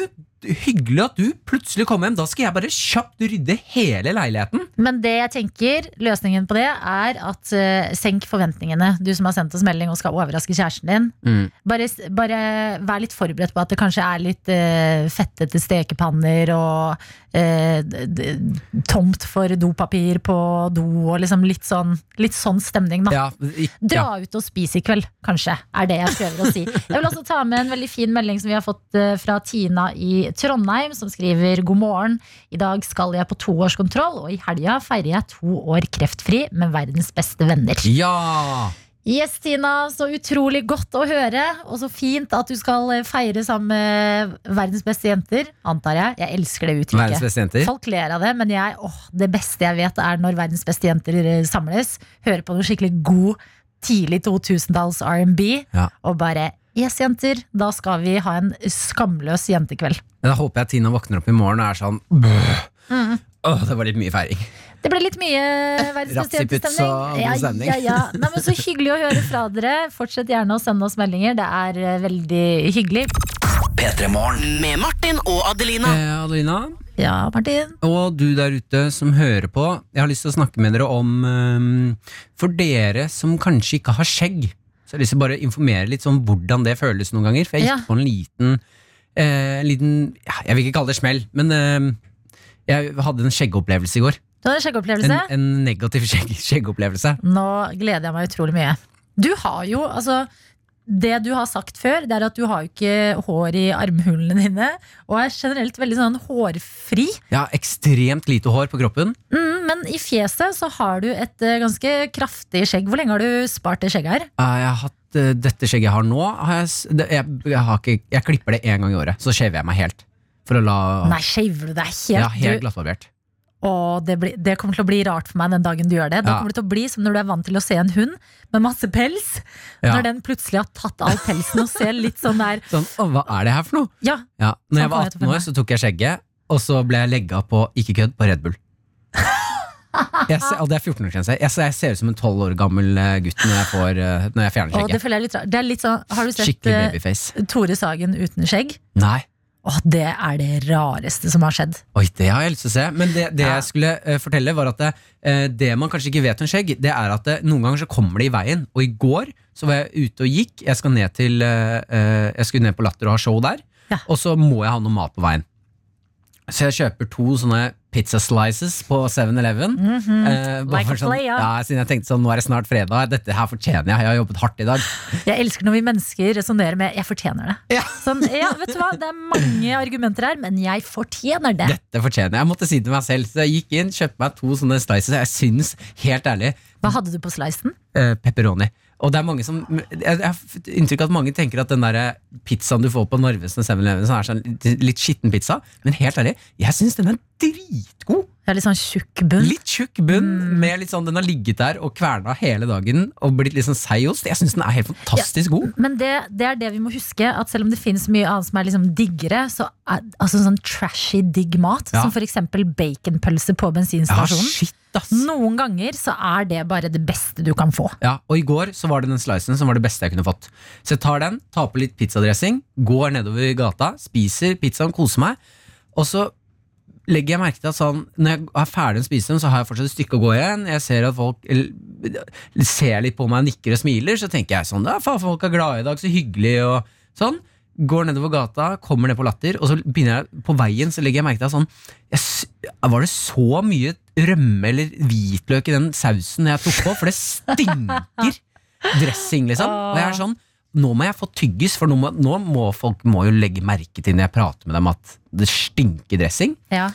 S4: hyggelig at du plutselig kom hjem. Da skal jeg bare kjapt rydde hele leiligheten.
S3: Men det jeg tenker, løsningen på det er at eh, senk forventningene. Du som har sendt oss melding og skal overraske kjæresten din. Bare, s- bare vær litt forberedt på at det kanskje er litt eh, fettete stekepanner og eh, d- d- tomt for dopapir på do og liksom litt sånn, litt sånn stemning, da.
S4: Ja, ikk- ja.
S3: Dra ut og spis i kveld, kanskje, er det jeg prøver å si. Jeg vil også ta med en veldig fin melding som vi har fått eh, fra Tina i Trondheim, som skriver god morgen. I dag skal jeg på toårskontroll, og i helga feirer jeg to år kreftfri med verdens beste venner.
S4: ja!
S3: Yes, Tina, så utrolig godt å høre, og så fint at du skal eh, feire sammen med verdens beste jenter, antar jeg. Jeg elsker det
S4: Verdens
S3: uttrykket.
S4: beste jenter.
S3: Folk ler av det, men jeg, åh, det beste jeg vet er når verdens beste jenter eh, samles, hører på noe skikkelig god tidlig 2000-talls R&B,
S4: Ja.
S3: og bare, yes jenter, da skal vi ha en skamløs jentekveld.
S4: Men Da håper jeg Tina våkner opp i morgen og er sånn «Bøh,
S3: Mm.
S4: Åh, det var litt mye feiring.
S3: Det ble litt mye eh,
S4: (laughs)
S3: verdens beste
S4: Ratsiputz og
S3: jentestemning. Ja,
S4: god stemning.
S3: ja, ja. Nei, men så hyggelig å høre fra dere. Fortsett gjerne å sende oss meldinger, det er eh, veldig hyggelig.
S8: P3 Morgen.
S2: Med Martin og Adelina.
S4: Eh, Adelina,
S3: Ja, Martin.
S4: og du der ute som hører på, jeg har lyst til å snakke med dere om ehm, For dere som kanskje ikke har skjegg, så har jeg lyst til å bare informere litt om hvordan det føles noen ganger. For jeg gikk
S3: Ja.
S4: på en liten, eh, en liten ja, Jeg vil ikke kalle det smell, men ehm, jeg hadde en skjeggopplevelse i går.
S3: Du hadde en
S4: En,
S3: sjekkeopplevelse.
S4: en negativ (laughs) skjegg, skjeggopplevelse.
S3: Nå gleder jeg meg utrolig mye. Du har jo, altså det du har sagt før, det er at du har jo ikke hår i armhulene dine. Og er generelt veldig sånn hårfri.
S4: Jeg har ekstremt lite hår på kroppen.
S3: Mm, men i fjeset så har du et eh, ganske kraftig skjegg. Hvor lenge har du spart det skjegget her?
S4: Eh, jeg har hatt eh, dette skjegget jeg har nå, har jeg, s- det- jeg, jeg, har ikke, jeg klipper det én gang i året. Så shaver jeg meg helt. For å la
S3: Nei, shaver du deg
S4: Ja,
S3: helt?
S4: helt
S3: du,
S4: glattbarbert.
S3: Å, det, blir- det kommer til å bli rart for meg den dagen du gjør det. Da
S4: Ja.
S3: kommer det til å bli som når du er vant til å se en hund med masse pels.
S4: Ja.
S3: Når den plutselig har tatt all pelsen og ser litt sånn der
S4: Sånn, «Å, hva er det her for noe?
S3: Ja,
S4: Ja,
S3: Sånn
S4: når jeg
S3: får
S4: var
S3: jeg til
S4: 18 år, så tok jeg skjegget, og så ble jeg legga på, ikke kødd, på
S3: (laughs)
S4: Red Bull. Jeg ser, og det er 14-årsgrense. Jeg, ser- jeg ser ut som en 12 år gammel eh, gutt når jeg, får, eh, når jeg fjerner
S3: og det
S4: skjegget.
S3: føler jeg er litt rart. Det er litt sånn, har du sett
S4: Skikkelig
S3: eh,
S4: babyface.
S3: Tore Sagen uten skjegg.
S4: Nei.
S3: Åh, det er det rareste som har skjedd.
S4: Oi, det har jeg lyst til å se. Men det, det jeg skulle eh, fortelle, var at det, eh, det man kanskje ikke vet om skjegg, det er at det, noen ganger så kommer det i veien. Og i går så var jeg ute og gikk. Jeg, skal ned til, eh, eh, jeg skulle ned på Latter og ha show der.
S3: Ja.
S4: Og så må jeg ha noe mat på veien. Så jeg kjøper to sånne pizza slices på 7-Eleven. eh, bare
S3: Mhm. Like
S4: for
S3: a player.
S4: ja, siden jeg tenkte sånn, nå er det snart fredag. Dette her fortjener jeg. Jeg har jobbet hardt i dag.
S3: Jeg elsker når vi mennesker resonnerer med 'jeg fortjener det'. (laughs) Sånn, ja, vet du hva, Det er mange argumenter her, men jeg fortjener det.
S4: Dette fortjener jeg. Jeg måtte si det til meg selv. Så jeg gikk inn, kjøpte meg to sånne slices. Jeg synes, helt ærlig,
S3: Hva hadde du på slicen?
S4: eh, pepperoni. Og det er mange som Jeg, jeg har fått inntrykk av at mange tenker at den der pizzaen du får på Narvesen og 7-Eleven, sånn er sånn litt- litt skitten pizza. Men helt ærlig, jeg syns den er dritgod.
S3: Det er Litt sånn tjukk bunn.
S4: Litt tjukk bunn. Med litt sånn, den har ligget der og kverna hele dagen og blitt litt sånn seig ost. Jeg syns den er helt fantastisk god.
S3: Men det, det er det vi må huske, at selv om det finnes mye annet som er liksom diggere, så er altså sånn trashy digg mat,
S4: Ja.
S3: som f.eks. baconpølse på
S4: Ja,
S3: bensinstasjonen
S4: sånn shit, ass.
S3: Noen ganger så er det bare det beste du kan få.
S4: Ja, og i går så var det den slicen som var det beste jeg kunne fått. Så jeg tar den, tar på litt pizzadressing, går nedover gata, spiser pizzaen, koser meg. Og så legger jeg merke til at sånn, når jeg er ferdig med å spise den, så har jeg fortsatt et stykke å gå igjen. Jeg ser at folk eller, ser litt på meg, nikker og smiler, så tenker jeg sånn, ja, faen, folk er glade i dag, så hyggelig og sånn. Går nedover gata, kommer ned på latter, og så begynner jeg på veien, så legger jeg merke til at sånn, jeg, s- var det så mye rømme eller hvitløk i den sausen jeg tok på, for det stinker dressing, liksom. Og jeg er sånn, nå må jeg få tyggis, for nå må, nå må folk må jo legge merke til når jeg prater med dem at det stinker dressing.
S3: Ja.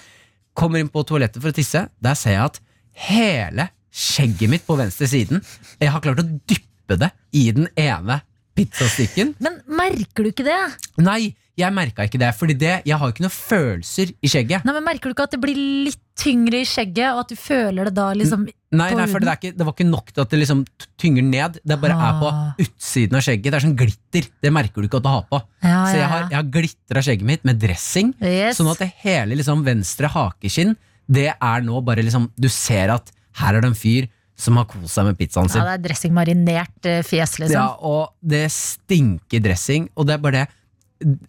S4: Kommer inn på toalettet for å tisse. Der ser jeg at hele skjegget mitt på venstre siden Jeg har klart å dyppe det i den ene pizzastykken.
S3: Men merker du ikke det?
S4: Nei, jeg merka ikke det, Fordi det, jeg har jo ikke noen følelser i skjegget.
S3: Nei, men Merker du ikke at det blir litt tyngre i skjegget, og at du føler det da liksom
S4: Nei,
S3: På
S4: nei for det, er ikke, det var ikke nok til at det liksom t- tynger ned. Det bare er på
S3: Ah.
S4: utsiden av skjegget. Det er sånn glitter. Det merker du ikke at du har på.
S3: Ah, Ja,
S4: Så jeg har, jeg har glitra skjegget mitt med dressing.
S3: Yes.
S4: Sånn at det hele liksom, venstre hakeskinn Det er nå bare liksom Du ser at her er det en fyr som har kost seg med pizzaen
S3: Ja,
S4: sin.
S3: det er dressingmarinert eh, fjes, liksom.
S4: Ja, og det stinker dressing. Og det er bare det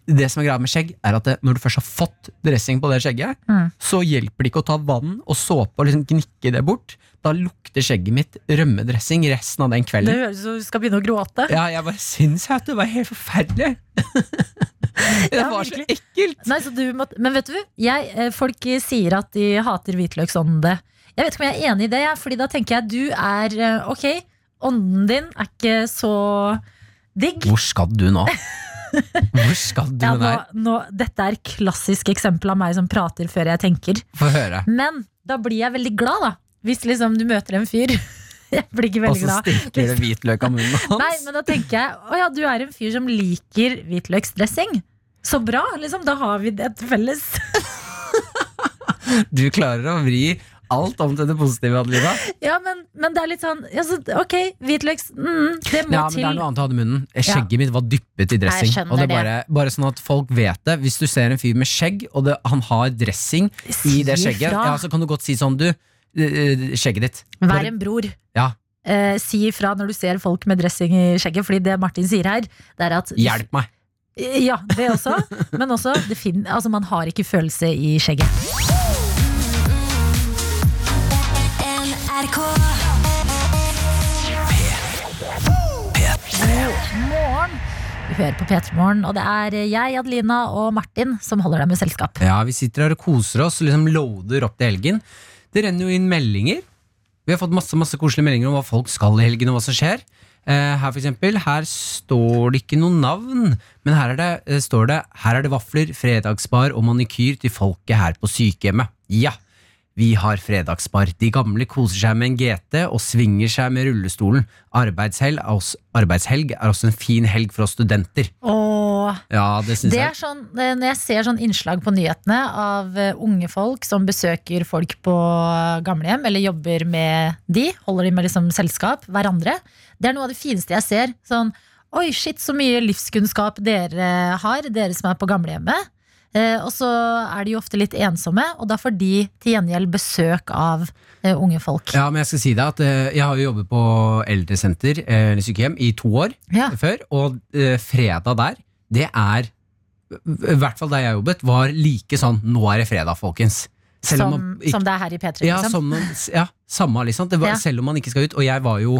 S4: Det som er greia med skjegg, er at det, når du først har fått dressing på det skjegget,
S3: Mm.
S4: så hjelper det ikke å ta vann og såpe og liksom gnikke det bort. Da lukter skjegget mitt rømmedressing resten av den
S3: Det
S4: kvelden.
S3: høres ut som du skal begynne å gråte.
S4: Ja, jeg bare syns at det var helt forferdelig. (laughs) det
S3: Ja,
S4: var så
S3: virkelig.
S4: ekkelt.
S3: Nei, så du må, men vet du, jeg, eh, folk sier at de hater hvitløksånde. Jeg vet ikke om jeg er enig i det, jeg, fordi da tenker jeg du er eh, ok. Ånden din er ikke så digg.
S4: Hvor skal du nå? Hvor skal du
S3: Ja,
S4: med det
S3: nå,
S4: her?
S3: nå, dette er klassisk eksempel av meg som prater før jeg tenker.
S4: Få høre.
S3: Men da blir jeg veldig glad, da. Hvis liksom du møter en fyr. (laughs) Jeg blir ikke
S4: Og
S3: veldig
S4: så
S3: glad.
S4: stinker det hvitløk av munnen hans.
S3: Nei, men da tenker jeg å ja, du er en fyr som liker hvitløksdressing. Så bra, liksom. Da har vi det felles. (laughs)
S4: Du klarer å vri alt om til det positive, Adelina.
S3: Ja, men, men det er litt sånn ja, så, Ok, hvitløks mm, Det må
S4: Ja, men det
S3: til
S4: er noe annet å ha i munnen. Skjegget mitt var dyppet i dressing.
S3: Jeg skjønner
S4: og det er
S3: det.
S4: bare, bare sånn at folk vet det. Hvis du ser en fyr med skjegg, og det, han har dressing i det
S3: Si
S4: skjegget,
S3: ifra.
S4: ja, så kan du godt si sånn, du, eh, skjegget ditt.
S3: Vær en bror
S4: Ja.
S3: eh, Si ifra når du ser folk med dressing i skjegget Fordi det Martin sier her Det er at
S4: Hjelp meg.
S3: Ja, det også Men også, det fin- altså, man har ikke følelse i skjegget God morgen Du hører på Petremorgen Og det er jeg, Adelina og Martin Som holder deg med selskap
S4: Ja, vi sitter her og koser oss, liksom loader opp til helgen. Det renner jo inn meldinger. Vi har fått masse masse koselige meldinger om hva folk skal i helgen, og hva som skjer. Eh, her, for eksempel, her står det ikke noe navn, men her er det, eh, står det Her er det vafler, fredagsbar og manikyr til folket her på sykehjemmet. Ja, vi har fredagsbar. De gamle koser seg med en GT og svinger seg med rullestolen. Arbeidshelg er også, arbeidshelg er også en fin helg for oss studenter.
S3: Åh
S4: Ja, det syns
S3: Det
S4: jeg.
S3: er sånn, eh, Når jeg ser sånn innslag på nyhetene av eh, unge folk som besøker folk på eh, gamlehjem, eller jobber med de, holder de med liksom selskap, hverandre, det er noe av det fineste jeg ser. Sånn Oi, shit, så mye livskunnskap dere har, dere som er på gamlehjemmet. Eh, og så er de jo ofte litt ensomme, og da får de til gjengjeld besøk av eh, unge folk.
S4: Ja, men jeg skal si deg at eh, jeg har jo jobbet på eldresenter eh, eller sykehjem i to år
S3: Ja.
S4: før, og eh, fredag der, det er i hvert fall der jeg jobbet, var like sånn Nå er det fredag, folkens. Selv om
S3: Som,
S4: man ikke-
S3: som det er her i P3.
S4: ja,
S3: liksom.
S4: som man, ja, samme, liksom. Det var,
S3: Ja.
S4: Selv om man ikke skal ut. Og jeg var jo,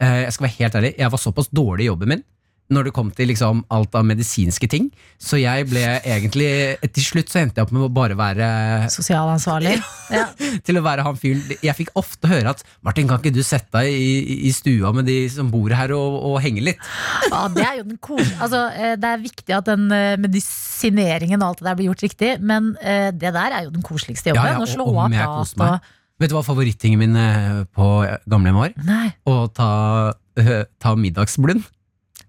S4: eh, jeg skal være helt ærlig, jeg var såpass dårlig i jobben min når det kom til liksom alt av medisinske ting. Så jeg ble egentlig Til slutt så endte jeg opp med å bare være
S3: Sosial ansvarlig. Ja.
S4: Til å være han fyren Jeg fikk ofte høre at 'Martin, kan ikke du sette deg i, i stua med de som bor her, og, og henge litt?'
S3: Ja, det er jo den kos altså, eh, Det er viktig at den eh, medisineringen og alt det der blir gjort riktig, men eh, det der er jo den koseligste jobben.
S4: Ja, ja,
S3: å
S4: og-
S3: slå
S4: om
S3: av
S4: jeg koser
S3: prat
S4: meg.
S3: og
S4: Vet du hva favorittingen min eh, på gamlehjem var?
S3: Nei.
S4: Å ta, eh, ta middagsblund.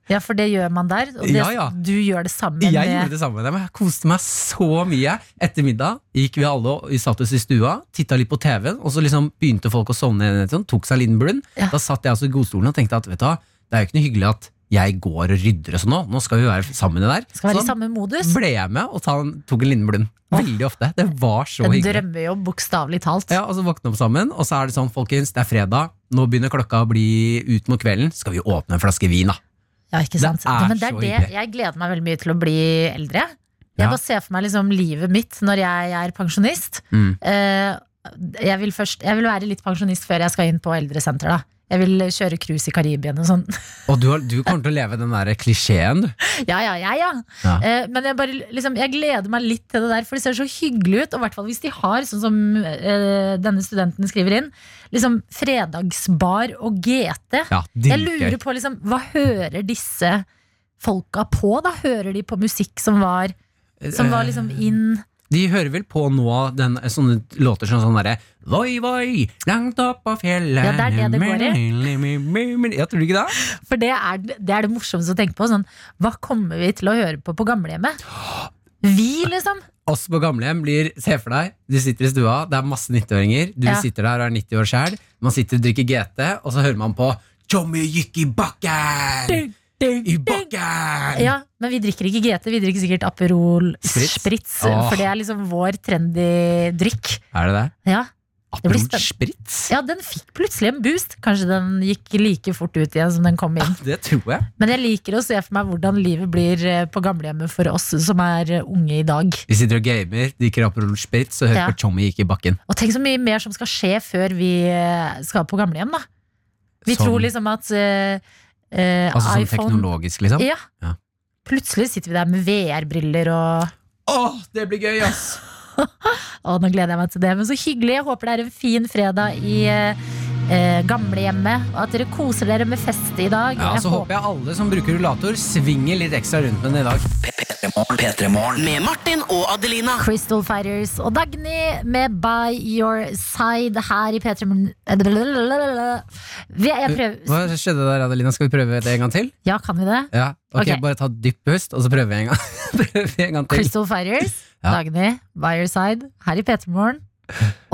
S3: Ja, for det gjør man der. Og det,
S4: Ja, ja.
S3: du gjør det sammen
S4: jeg gjorde
S3: med
S4: det samme med dem. Jeg koste meg så mye. Etter middag gikk vi alle og vi satt oss i stua, titta litt på TV-en, og så liksom begynte folk å sovne. igjen etter Sånn, tok seg en liten blund.
S3: Ja.
S4: Da satt jeg også i godstolen og tenkte at vet du hva, det er jo ikke noe hyggelig at jeg går og rydder og sånn nå. Nå skal vi være sammen i det der. Sånn.
S3: Skal være i
S4: Så da
S3: samme modus.
S4: ble jeg med og ta en, tok en liten blund. Veldig ofte. Det var så
S3: En
S4: hyggelig.
S3: drømmejobb, bokstavelig talt.
S4: Ja, og så våkne opp sammen, og så er det sånn, folkens, det er fredag. Nå begynner klokka å bli ut mot kvelden. Skal vi åpne en flaske vin, da?
S3: Ja, ikke sant?
S4: Det er
S3: Ja, men det er
S4: så
S3: det.
S4: hyggelig.
S3: Jeg gleder meg veldig mye til å bli eldre. Jeg
S4: Ja.
S3: bare ser for meg liksom livet mitt når jeg er pensjonist.
S4: Mm.
S3: Eh, Jeg, vil først, jeg vil være litt pensjonist før jeg skal inn på eldresenter. Da. Jeg vil kjøre cruise i Karibien og sånn. (laughs)
S4: Og du, har- du kommer til å leve den der klisjeen, du.
S3: Ja, ja, jeg, ja.
S4: Ja.
S3: Eh, Men jeg, bare, liksom, jeg gleder meg litt til det der, for det ser så hyggelig ut. Og i hvert fall hvis de har, sånn som eh, denne studenten skriver inn, liksom fredagsbar og GT.
S4: Ja,
S3: Jeg
S4: dritgøy.
S3: lurer på liksom, hva hører disse folka på? da? Hører de på musikk som var,
S4: Eh.
S3: som var liksom inn
S4: De hører vel på nå den, eh, sånne låter som sånn derre Voi, voi, langt opp på fjellet
S3: Ja, det er det det går
S4: i. Ja, tror du ikke det?
S3: For det er det, er det morsomste å tenke på. Sånn, hva kommer vi til å høre på på gamlehjemmet? Vi, liksom.
S4: Oss på gamlehjem blir Se for deg, du sitter i stua, det er masse 90-åringer. Du
S3: Ja.
S4: sitter der og er 90 år sjæl. Man sitter og drikker GT, og så hører man på Tommy gikk i bakken! I bakken!
S3: Ja, Men vi drikker ikke GT, vi drikker sikkert Aperol Spritz.
S4: Spritz. Åh.
S3: For det er liksom vår trendy drikk.
S4: Er det det?
S3: Ja. Det blir
S4: Aperol
S3: spenn-
S4: Spritz?
S3: ja, den fikk plutselig en boost. Kanskje den gikk like fort ut igjen som den kom inn.
S4: Det tror jeg.
S3: Men jeg liker å se for meg hvordan livet blir eh, på gamlehjemmet for oss som er eh, unge i dag.
S4: Vi sitter og gamer, drikker Aperol Spritz og hører
S3: Ja.
S4: på Tommy gikk i bakken.
S3: Og tenk så mye mer som skal skje før vi eh, skal på gamlehjem, da. Vi
S4: Som-
S3: tror liksom at eh, eh,
S4: Sånn. Altså sånn
S3: iPhone
S4: teknologisk, liksom.
S3: ja.
S4: Ja.
S3: Plutselig sitter vi der med VR-briller og
S4: Åh, det blir gøy, ass!
S3: Å, nå gleder jeg meg til det. Men så hyggelig. Jeg håper det er en fin fredag i eh, eh, gamlehjemmet. Og at dere koser dere med fest i dag.
S4: Ja,
S3: Jeg
S4: så håper jeg alle som bruker rullator, svinger litt ekstra rundt med den i dag.
S6: P3morgen.
S2: Med Martin og Adelina.
S3: Crystal Fighters og Dagny med By Your Side her i P3 Morgen. Vi- Jeg
S4: Hva
S3: prøver
S4: skjedde der, Adelina? Skal vi prøve det en gang til?
S3: Ja, kan vi det?
S4: Ja, ok,
S3: Ok.
S4: Bare ta et dypt pust, og så prøver vi en gang, (laughs) prøver vi en gang til.
S3: Crystal Fighters,
S4: Ja.
S3: Dagny, By Your Side her i P3 Morgen.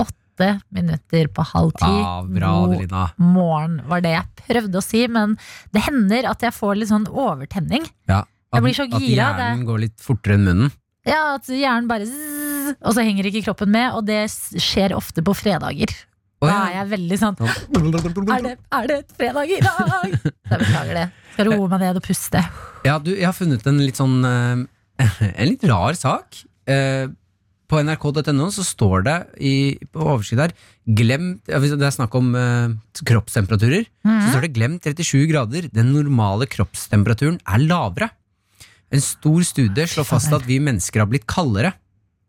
S3: Åtte minutter på halv ti.
S4: Ja, Ah, bra,
S3: God
S4: Adelina.
S3: morgen, var det jeg prøvde å si. Men det hender at jeg får litt sånn overtenning.
S4: Ja.
S3: Jeg blir så
S4: At
S3: gira,
S4: hjernen går litt fortere enn munnen.
S3: Ja, at hjernen bare zzz, Og så henger ikke kroppen med, og det s- skjer ofte på fredager. Da
S4: Å, ja.
S3: er jeg veldig sånn
S4: Sånn.
S3: Er det, er det et fredag i
S4: (laughs)
S3: dag? Så jeg beklager det. Skal roe meg ned og puste.
S4: Ja, du, jeg har funnet en litt sånn eh, (laughs) En litt rar sak. Eh, på nrk.no så står det i, på oversikt der glem, ja, hvis Det er snakk om eh, kroppstemperaturer. Så
S3: Mhm. Mm.
S4: står det 'glem 37 grader'. Den normale kroppstemperaturen er lavere. En stor studie slår fast at vi mennesker har blitt kaldere.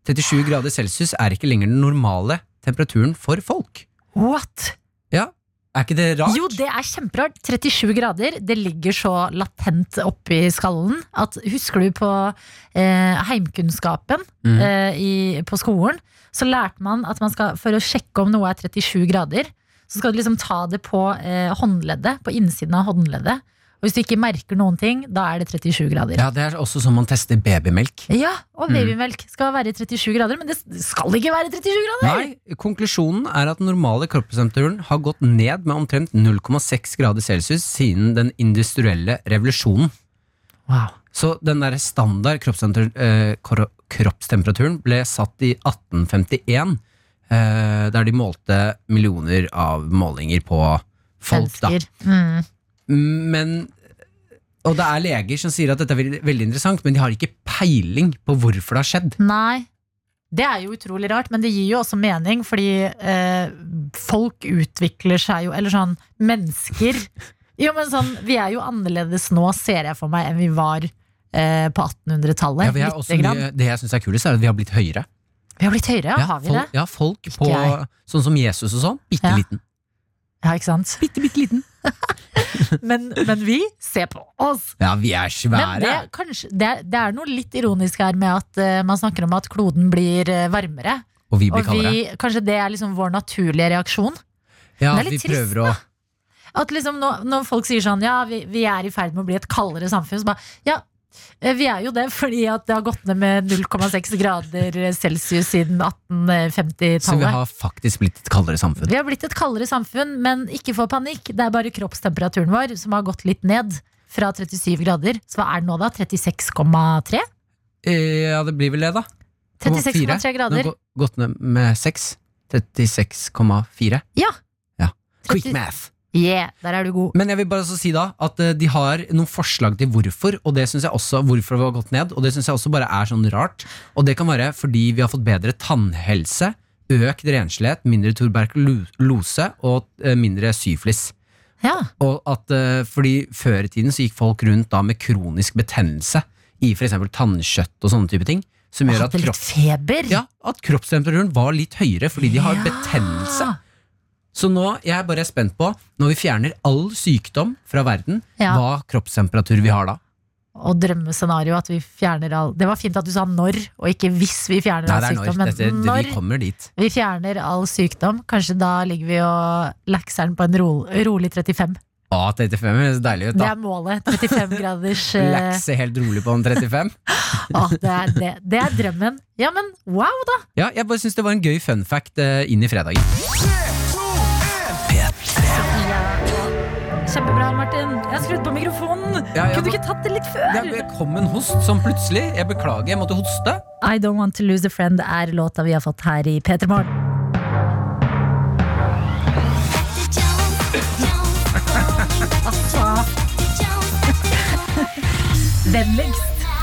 S4: 37 grader celsius er ikke lenger den normale temperaturen for folk.
S3: What?
S4: Ja, Er ikke det rart?
S3: Jo, det er kjemperart. 37 grader, det ligger så latent oppi skallen at Husker du på eh, heimkunnskapen
S4: Mhm.
S3: eh, i, på skolen? Så lærte man at man skal, for å sjekke om noe er 37 grader, så skal du liksom ta det på eh, håndleddet, på innsiden av håndleddet. Og hvis du ikke merker noen ting, da er det 37 grader. Ja.
S4: Ja, Mm. Det er også sånn man tester babymelk.
S3: og babymelk skal være 37 grader, men det skal ikke være 37 grader!
S4: Nei, konklusjonen er at den normale kroppstemperaturen har gått ned med omtrent 0,6 grader celsius siden den industrielle revolusjonen.
S3: Wow.
S4: Så den der standard kroppstemperatur- eh, kro- kroppstemperaturen ble satt i 1851, eh, der de målte millioner av målinger på folk. Da.
S3: Mennesker. Mm.
S4: Men, og det er leger som sier at dette er veldig, veldig interessant, men de har ikke peiling på hvorfor det har skjedd.
S3: Nei. Det er jo utrolig rart, men det gir jo også mening, fordi eh, folk utvikler seg jo Eller sånn, mennesker Jo, men sånn, vi er jo annerledes nå, ser jeg for meg, enn vi var eh, på 1800-tallet.
S4: Ja, vi er
S3: lite
S4: også
S3: grann.
S4: mye, det jeg syns er kulest, er at vi har blitt høyere.
S3: vi har blitt høyere, ja.
S4: Ja,
S3: Har vi
S4: folk,
S3: det?
S4: ja, folk på
S3: jeg.
S4: sånn som Jesus og sånn, bitte
S3: Ja.
S4: liten.
S3: Ja, ikke sant?
S4: Bitte, bitte liten.
S3: (laughs) Men, men vi, se på oss!
S4: Ja, vi er
S3: Men det,
S4: svære.
S3: er kanskje, det, er, det er noe litt ironisk her med at eh, man snakker om at kloden blir eh, varmere.
S4: og vi blir
S3: Og
S4: kaldere.
S3: vi, kanskje det er liksom vår naturlige reaksjon. det
S4: ja,
S3: er
S4: vi
S3: litt trist,
S4: prøver å
S3: At liksom når, når folk sier sånn Ja, vi, vi er i ferd med å bli et kaldere samfunn. Så bare, ja, eh, vi er jo det fordi at det har gått ned med 0,6 grader celsius siden
S4: Så vi
S3: 1850-tallet.
S4: har faktisk blitt et kaldere samfunn.
S3: Vi har blitt et kaldere samfunn, men ikke få panikk. Det er bare kroppstemperaturen vår som har gått litt ned. Fra 37 grader. Så hva er det nå, da? 36,3?
S4: Eh, Ja, det blir vel det, da.
S3: 36,3
S4: Nå
S3: grader.
S4: gå- Gått ned med 6. 36,4.
S3: Ja.
S4: Ja. Quick
S3: 30
S4: math.
S3: Yeah, der er du god.
S4: Men jeg vil bare også si da at eh, de har noen forslag til hvorfor, og det synes jeg også hvorfor det har gått ned. Og det synes jeg også bare er sånn rart. Og det kan være fordi vi har fått bedre tannhelse, økt renslighet, mindre tuberkulose og eh, mindre syflis.
S3: Ja,
S4: Og at, eh, fordi før i tiden så gikk folk rundt da med kronisk betennelse i for eksempel tannkjøtt og sånne type ting, som gjør at,
S3: Hadde litt
S4: kropp,
S3: feber.
S4: ja, at kroppstemperaturen var litt høyere fordi de har
S3: Ja.
S4: betennelse. Så nå, jeg er bare spent på, når vi fjerner all sykdom fra verden,
S3: Ja.
S4: hva kroppstemperatur vi har da.
S3: Og drømmescenario at vi fjerner all Det var fint at du sa når, og ikke hvis vi fjerner
S4: Nei,
S3: all
S4: det er når.
S3: sykdom. Men
S4: Dette, det,
S3: når
S4: vi kommer dit.
S3: vi fjerner all sykdom, kanskje da ligger vi og lakser'n på en ro, rolig 35.
S4: Å, 35 høres deilig ut
S3: Det
S4: da.
S3: er målet.
S4: (laughs)
S3: 35 graders eh,
S4: Lakse helt rolig på en 35.
S3: å, det, er, det, det er drømmen. Ja, men wow, da!
S4: Ja, jeg bare synes det var en gøy fun fact eh, inn i fredagen.
S3: Kjempebra, Martin. Jeg har skrudd på mikrofonen.
S4: Ja, jeg
S3: Kunne du
S4: må-
S3: ikke tatt det litt
S4: Det
S3: før?
S4: er- kom en host som plutselig, jeg beklager, jeg måtte hoste.
S3: I Don't Want To Lose A Friend er låta vi har fått her i P3 Morgen. Vennligst.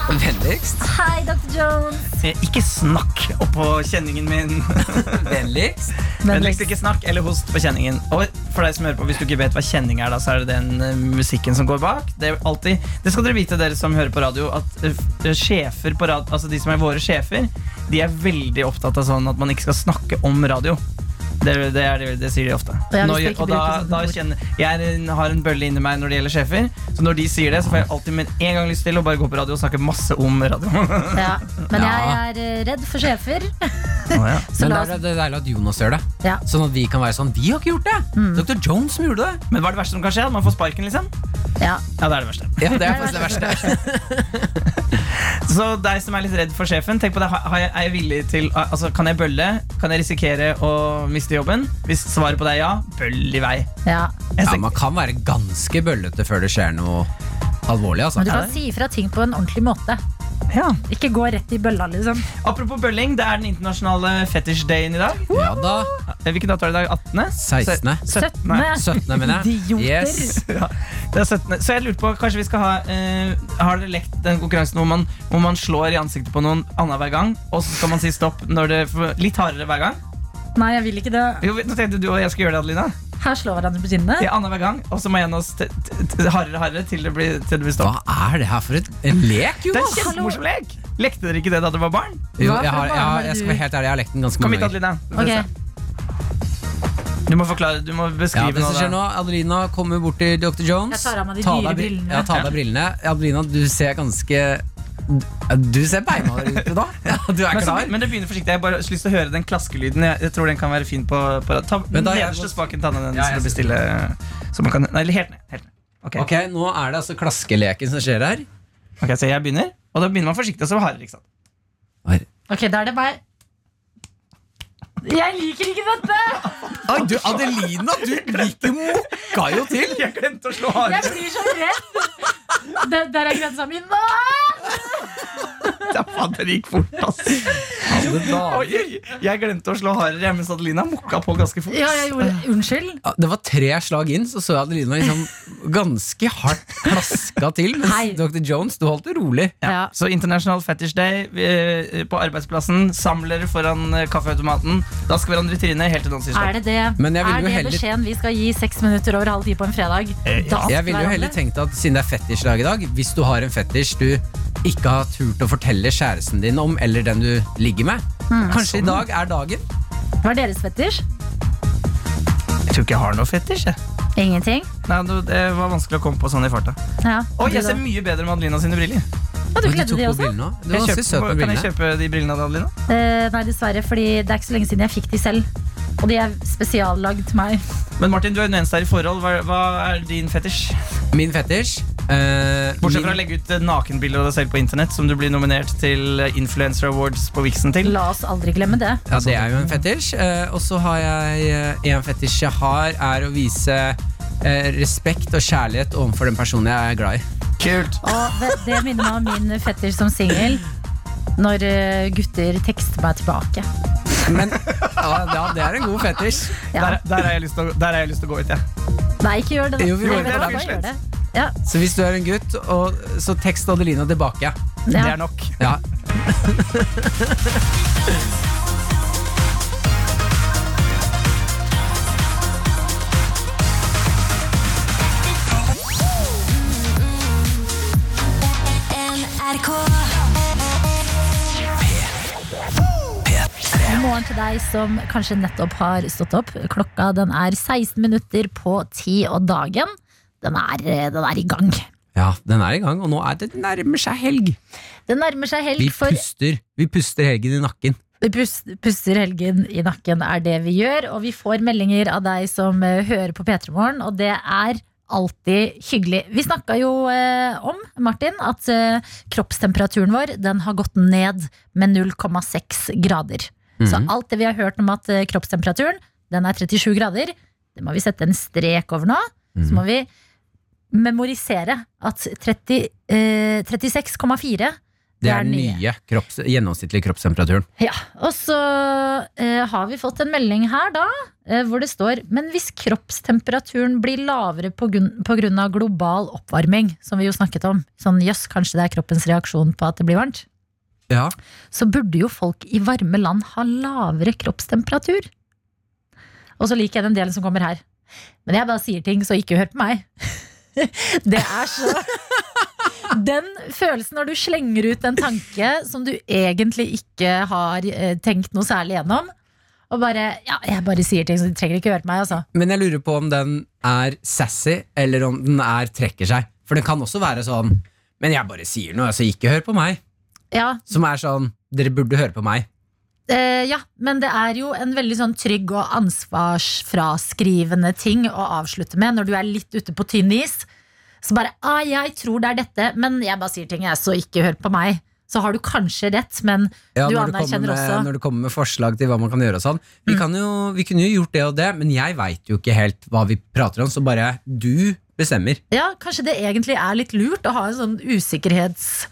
S4: Vennligst.
S3: Hei, Dr. Jones.
S1: Eh, Ikke snakk oppå kjenningen min. (laughs)
S4: Vennligst.
S1: Vennligst ikke snakk eller host på kjenningen. Og for deg som hører på, Hvis du ikke vet hva kjenning er, da, så er det den eh, musikken som går bak. Det, er alltid, det skal dere vite, dere som hører på radio, at eh, f- eh, sjefer på radio, altså de som er våre sjefer, de er veldig opptatt av sånn at man ikke skal snakke om radio. Det, er- det, er, det, det sier de ofte.
S3: Ja, vi skal
S1: gjør-
S3: ikke
S1: og da,
S3: bruke sånne
S1: da
S3: ord.
S1: kjenner, jeg er en, har en bølle inni meg når det gjelder sjefer, så når de sier det, så får jeg alltid med en gang lyst til å bare gå på radio og snakke masse om radio. (laughs)
S3: Ja, men jeg
S4: Ja.
S3: er eh, redd for sjefer.
S1: Å, ja.
S3: (laughs) Så
S4: Men
S3: la
S4: det
S3: oss
S4: er, det er deilig at Jonas gjør det.
S3: Ja.
S4: Sånn at vi kan være sånn, vi har ikke gjort det.
S3: Mm.
S4: Dr. Jones som gjorde det.
S1: Men hva er det verste som kan skje? At man får sparken, liksom?
S3: ja.
S1: Ja, det er det verste.
S4: Ja, det er faktisk det verste.
S3: (laughs)
S1: Så deg som er litt redd for sjefen, tenk på det. Har har jeg, er jeg villig til altså, Kan jeg bølle? Kan jeg risikere å miste jobben? Hvis svaret på det er ja, bøll i vei.
S3: ja.
S1: Jeg
S4: Ja,
S1: ser-
S4: man kan være ganske bøllete før det skjer noe alvorlig, altså.
S3: Men du kan si ifra ting på en ordentlig måte.
S1: Ja.
S3: Ikke gå rett i bølla, liksom.
S1: Apropos bølling, det er den internasjonale fetisj-dagen i dag.
S4: Ja da.
S1: Hvilken dato er det i dag? 18.?
S4: 16.
S1: Se- 17.
S4: 17. mener jeg.
S3: Idioter.
S4: Yes.
S1: (laughs) Ja, det er 17. Så jeg lurte på, kanskje vi skal ha eh, Har dere lekt den konkurransen hvor man, hvor man slår i ansiktet på noen annenhver gang, og så skal man si stopp når det for- litt hardere hver gang?
S3: Nei, jeg vil ikke det.
S1: Jo, nå tenkte du og jeg skulle gjøre det, Adelina.
S3: Her slår hverandre på kinnet.
S1: Ja, Annenhver gang, og så må en av oss t- t- t- hardere hardere til det blir, til det blir stopp.
S4: Hva er det her for et, en lek,
S1: Det er
S4: Jonas?
S1: kjempemorsom lek! Lekte dere ikke det da dere var barn?
S4: Jo,
S3: Hva
S4: jeg,
S3: for
S4: har,
S3: en
S4: jeg, har,
S3: barn er
S4: jeg skal
S3: du?
S4: være helt ærlig, jeg har lekt den ganske
S1: Kom
S4: mange
S1: hit,
S4: ganger.
S1: Adelina.
S3: Ok.
S1: Du må forklare, du må
S4: Ja,
S1: beskrive
S4: det som skjer nå,
S1: da.
S4: Adelina kommer bort til Dr. Jones.
S3: Jeg tar av meg de
S4: Ta
S3: dyre
S4: bri-
S3: brillene.
S4: Ja, ta av deg brillene. Adelina, du ser ganske Du ser beinhard ut i dag. Ja, du er
S1: Men, så,
S4: klar.
S1: men det begynner forsiktig. Jeg har bare lyst til å høre den klaskelyden. Jeg, jeg tror den kan være fin på, på ta,
S4: Men da-
S1: Nederste spaken tanna den,
S4: Ja,
S1: så
S4: jeg
S1: du bestiller Så man kan Nei, helt ned. Helt ned. Ok.
S4: Ok, Nå er det altså klaskeleken som skjer her.
S1: ok, så jeg begynner. Og da begynner man forsiktig, og så
S4: (laughs)
S1: hardere. ikke sant?
S3: Ok, da er det meg. Jeg liker ikke dette!
S4: Oi, du, Adelina, du gikk jo mokka jo til!
S1: Jeg glemte å slå
S3: Jeg
S1: hardere.
S3: blir så redd! Der, der er grensa mi. Nå!
S1: Det Da faen, det gikk fort, ass. Oi, oi, jeg glemte å slå hardere, jeg, men Adelina mokka på ganske fort.
S3: Ja, jeg gjorde Unnskyld.
S4: Ja, Det var tre slag inn, så så jeg Adelina liksom ganske hardt klaska til.
S3: Hei.
S4: Mens Dr. Jones, du holdt det rolig.
S3: Ja.
S1: Så International Fetish Day eh, på arbeidsplassen. Saml dere foran eh, kaffeautomaten. Dask hverandre i trynet helt til noen sier sånn,
S3: Er
S1: stopp.
S3: det det,
S4: Men jeg ville
S3: er
S4: jo
S3: det
S4: heller- Eh,
S3: beskjeden vi skal gi seks minutter over halv ti på en fredag? Da skal
S4: Jeg ville jo
S3: være alle.
S4: heller tenkt at siden det er fetisjdag i dag, hvis du har en fetisj du ikke har turt å fortelle kjæresten din om, eller den du ligger med,
S3: Hmm.
S4: kanskje i
S3: Sånn.
S4: dag er dagen?
S3: Hva er deres fetisj?
S1: Jeg tror ikke jeg har noe fetisj. jeg.
S3: Ingenting?
S1: Nei, det det var vanskelig å komme på sånn i farta.
S3: Ja.
S1: Oi, jeg
S3: Du
S1: ser
S3: da?
S1: mye bedre med Adelina sine briller.
S3: Ja, du
S4: Oi,
S3: kledde
S4: tok
S3: de
S4: på
S3: også?
S4: brillene også. Det var
S1: Jeg
S4: ganske
S1: kjøper-
S4: søte
S1: kan jeg
S4: brillene.
S1: kjøpe de brillene av Adelina?
S3: Eh, nei, dessverre, fordi det er ikke så lenge siden jeg fikk de selv. Og de er spesiallagd til meg.
S1: Men Martin, du er den eneste her i forhold. Hva, hva er din fetisj?
S4: Min fetisj eh,
S1: Bortsett fra å
S4: min,
S1: legge ut eh, nakenbilder av deg selv på internett, som du blir nominert til eh, Influencer Awards på Vixen til.
S3: La oss aldri glemme det.
S4: ja, Det er jo en fetisj. Eh, og så har jeg eh, En fetisj jeg har, er å vise eh, respekt og kjærlighet overfor den personen jeg er glad i.
S1: Kult.
S3: Og det, det minner meg om min fetter som singel. Når eh, gutter tekster meg tilbake.
S4: Men ja, ja, det er en god fetisj.
S3: Ja.
S1: Der, der har jeg lyst til å- der har jeg lyst til å gå ut, jeg.
S3: Nei, ikke gjør det. da.
S4: Jo, vi
S3: Nei,
S4: gjør
S3: vet
S1: det,
S3: du hva,
S1: det er
S3: gjør det.
S4: Så hvis du er en gutt, og, så tekst Adelina tilbake.
S1: Det
S3: Ja.
S1: er nok.
S4: Ja,
S3: God morgen til deg som kanskje nettopp har stått opp. Klokka den er 16 minutter på 10, og dagen den er, eh, den er i gang.
S4: Ja, den er i gang, og nå er det nærmer seg helg.
S3: Det nærmer seg
S4: Vi
S3: helg for
S4: puster, vi puster helgen i nakken.
S3: Vi pus- puster helgen i nakken, er det vi gjør. Og vi får meldinger av deg som eh, hører på P3 Morgen, og det er alltid hyggelig. Vi snakka jo eh, om, Martin, at eh, kroppstemperaturen vår den har gått ned med 0,6 grader. Så
S4: Mhm.
S3: alt det vi har hørt om at eh, kroppstemperaturen den er 37 grader, det må vi sette en strek over nå. Så
S4: Mhm.
S3: må vi memorisere at 30, eh, 36,4
S4: Det er den
S3: nye.
S4: nye kropps, gjennomsnittlige kroppstemperaturen.
S3: Ja, og så eh, har vi fått en melding her da, eh, hvor det står Men hvis kroppstemperaturen blir lavere på grunn, på grunn av global oppvarming, som vi jo snakket om, sånn jøss, kanskje det er kroppens reaksjon på at det blir varmt,
S4: Ja.
S3: så burde jo folk i varme land ha lavere kroppstemperatur. Og så liker jeg den delen som kommer her. Men jeg bare sier ting, så ikke hør på meg. (laughs) Det er så Den følelsen når du slenger ut en tanke som du egentlig ikke har eh, tenkt noe særlig gjennom, og bare Ja, jeg bare sier ting, så du trenger ikke høre på meg, altså.
S4: Men jeg lurer på om den er sassy, eller om den er trekker seg. For den kan også være sånn Men jeg bare sier noe, altså ikke hør på meg.
S3: Ja,
S4: Som er sånn Dere burde høre på meg.
S3: Eh, ja, men det er jo en veldig sånn trygg og ansvarsfraskrivende ting å avslutte med når du er litt ute på tynn is. Så bare ah, 'jeg tror det er dette, men jeg bare sier ting, jeg, så ikke hør på meg'. Så har du kanskje rett, men
S4: Ja,
S3: du
S4: når, kommer
S3: anerkjenner
S4: med,
S3: også Mm.
S4: når du kommer med forslag til hva man kan gjøre og sånn. Vi, kan jo, vi kunne jo gjort det og det, men jeg veit jo ikke helt hva vi prater om, så bare du bestemmer.
S3: Ja, Kanskje det egentlig er litt lurt å ha en sånn usikkerhets...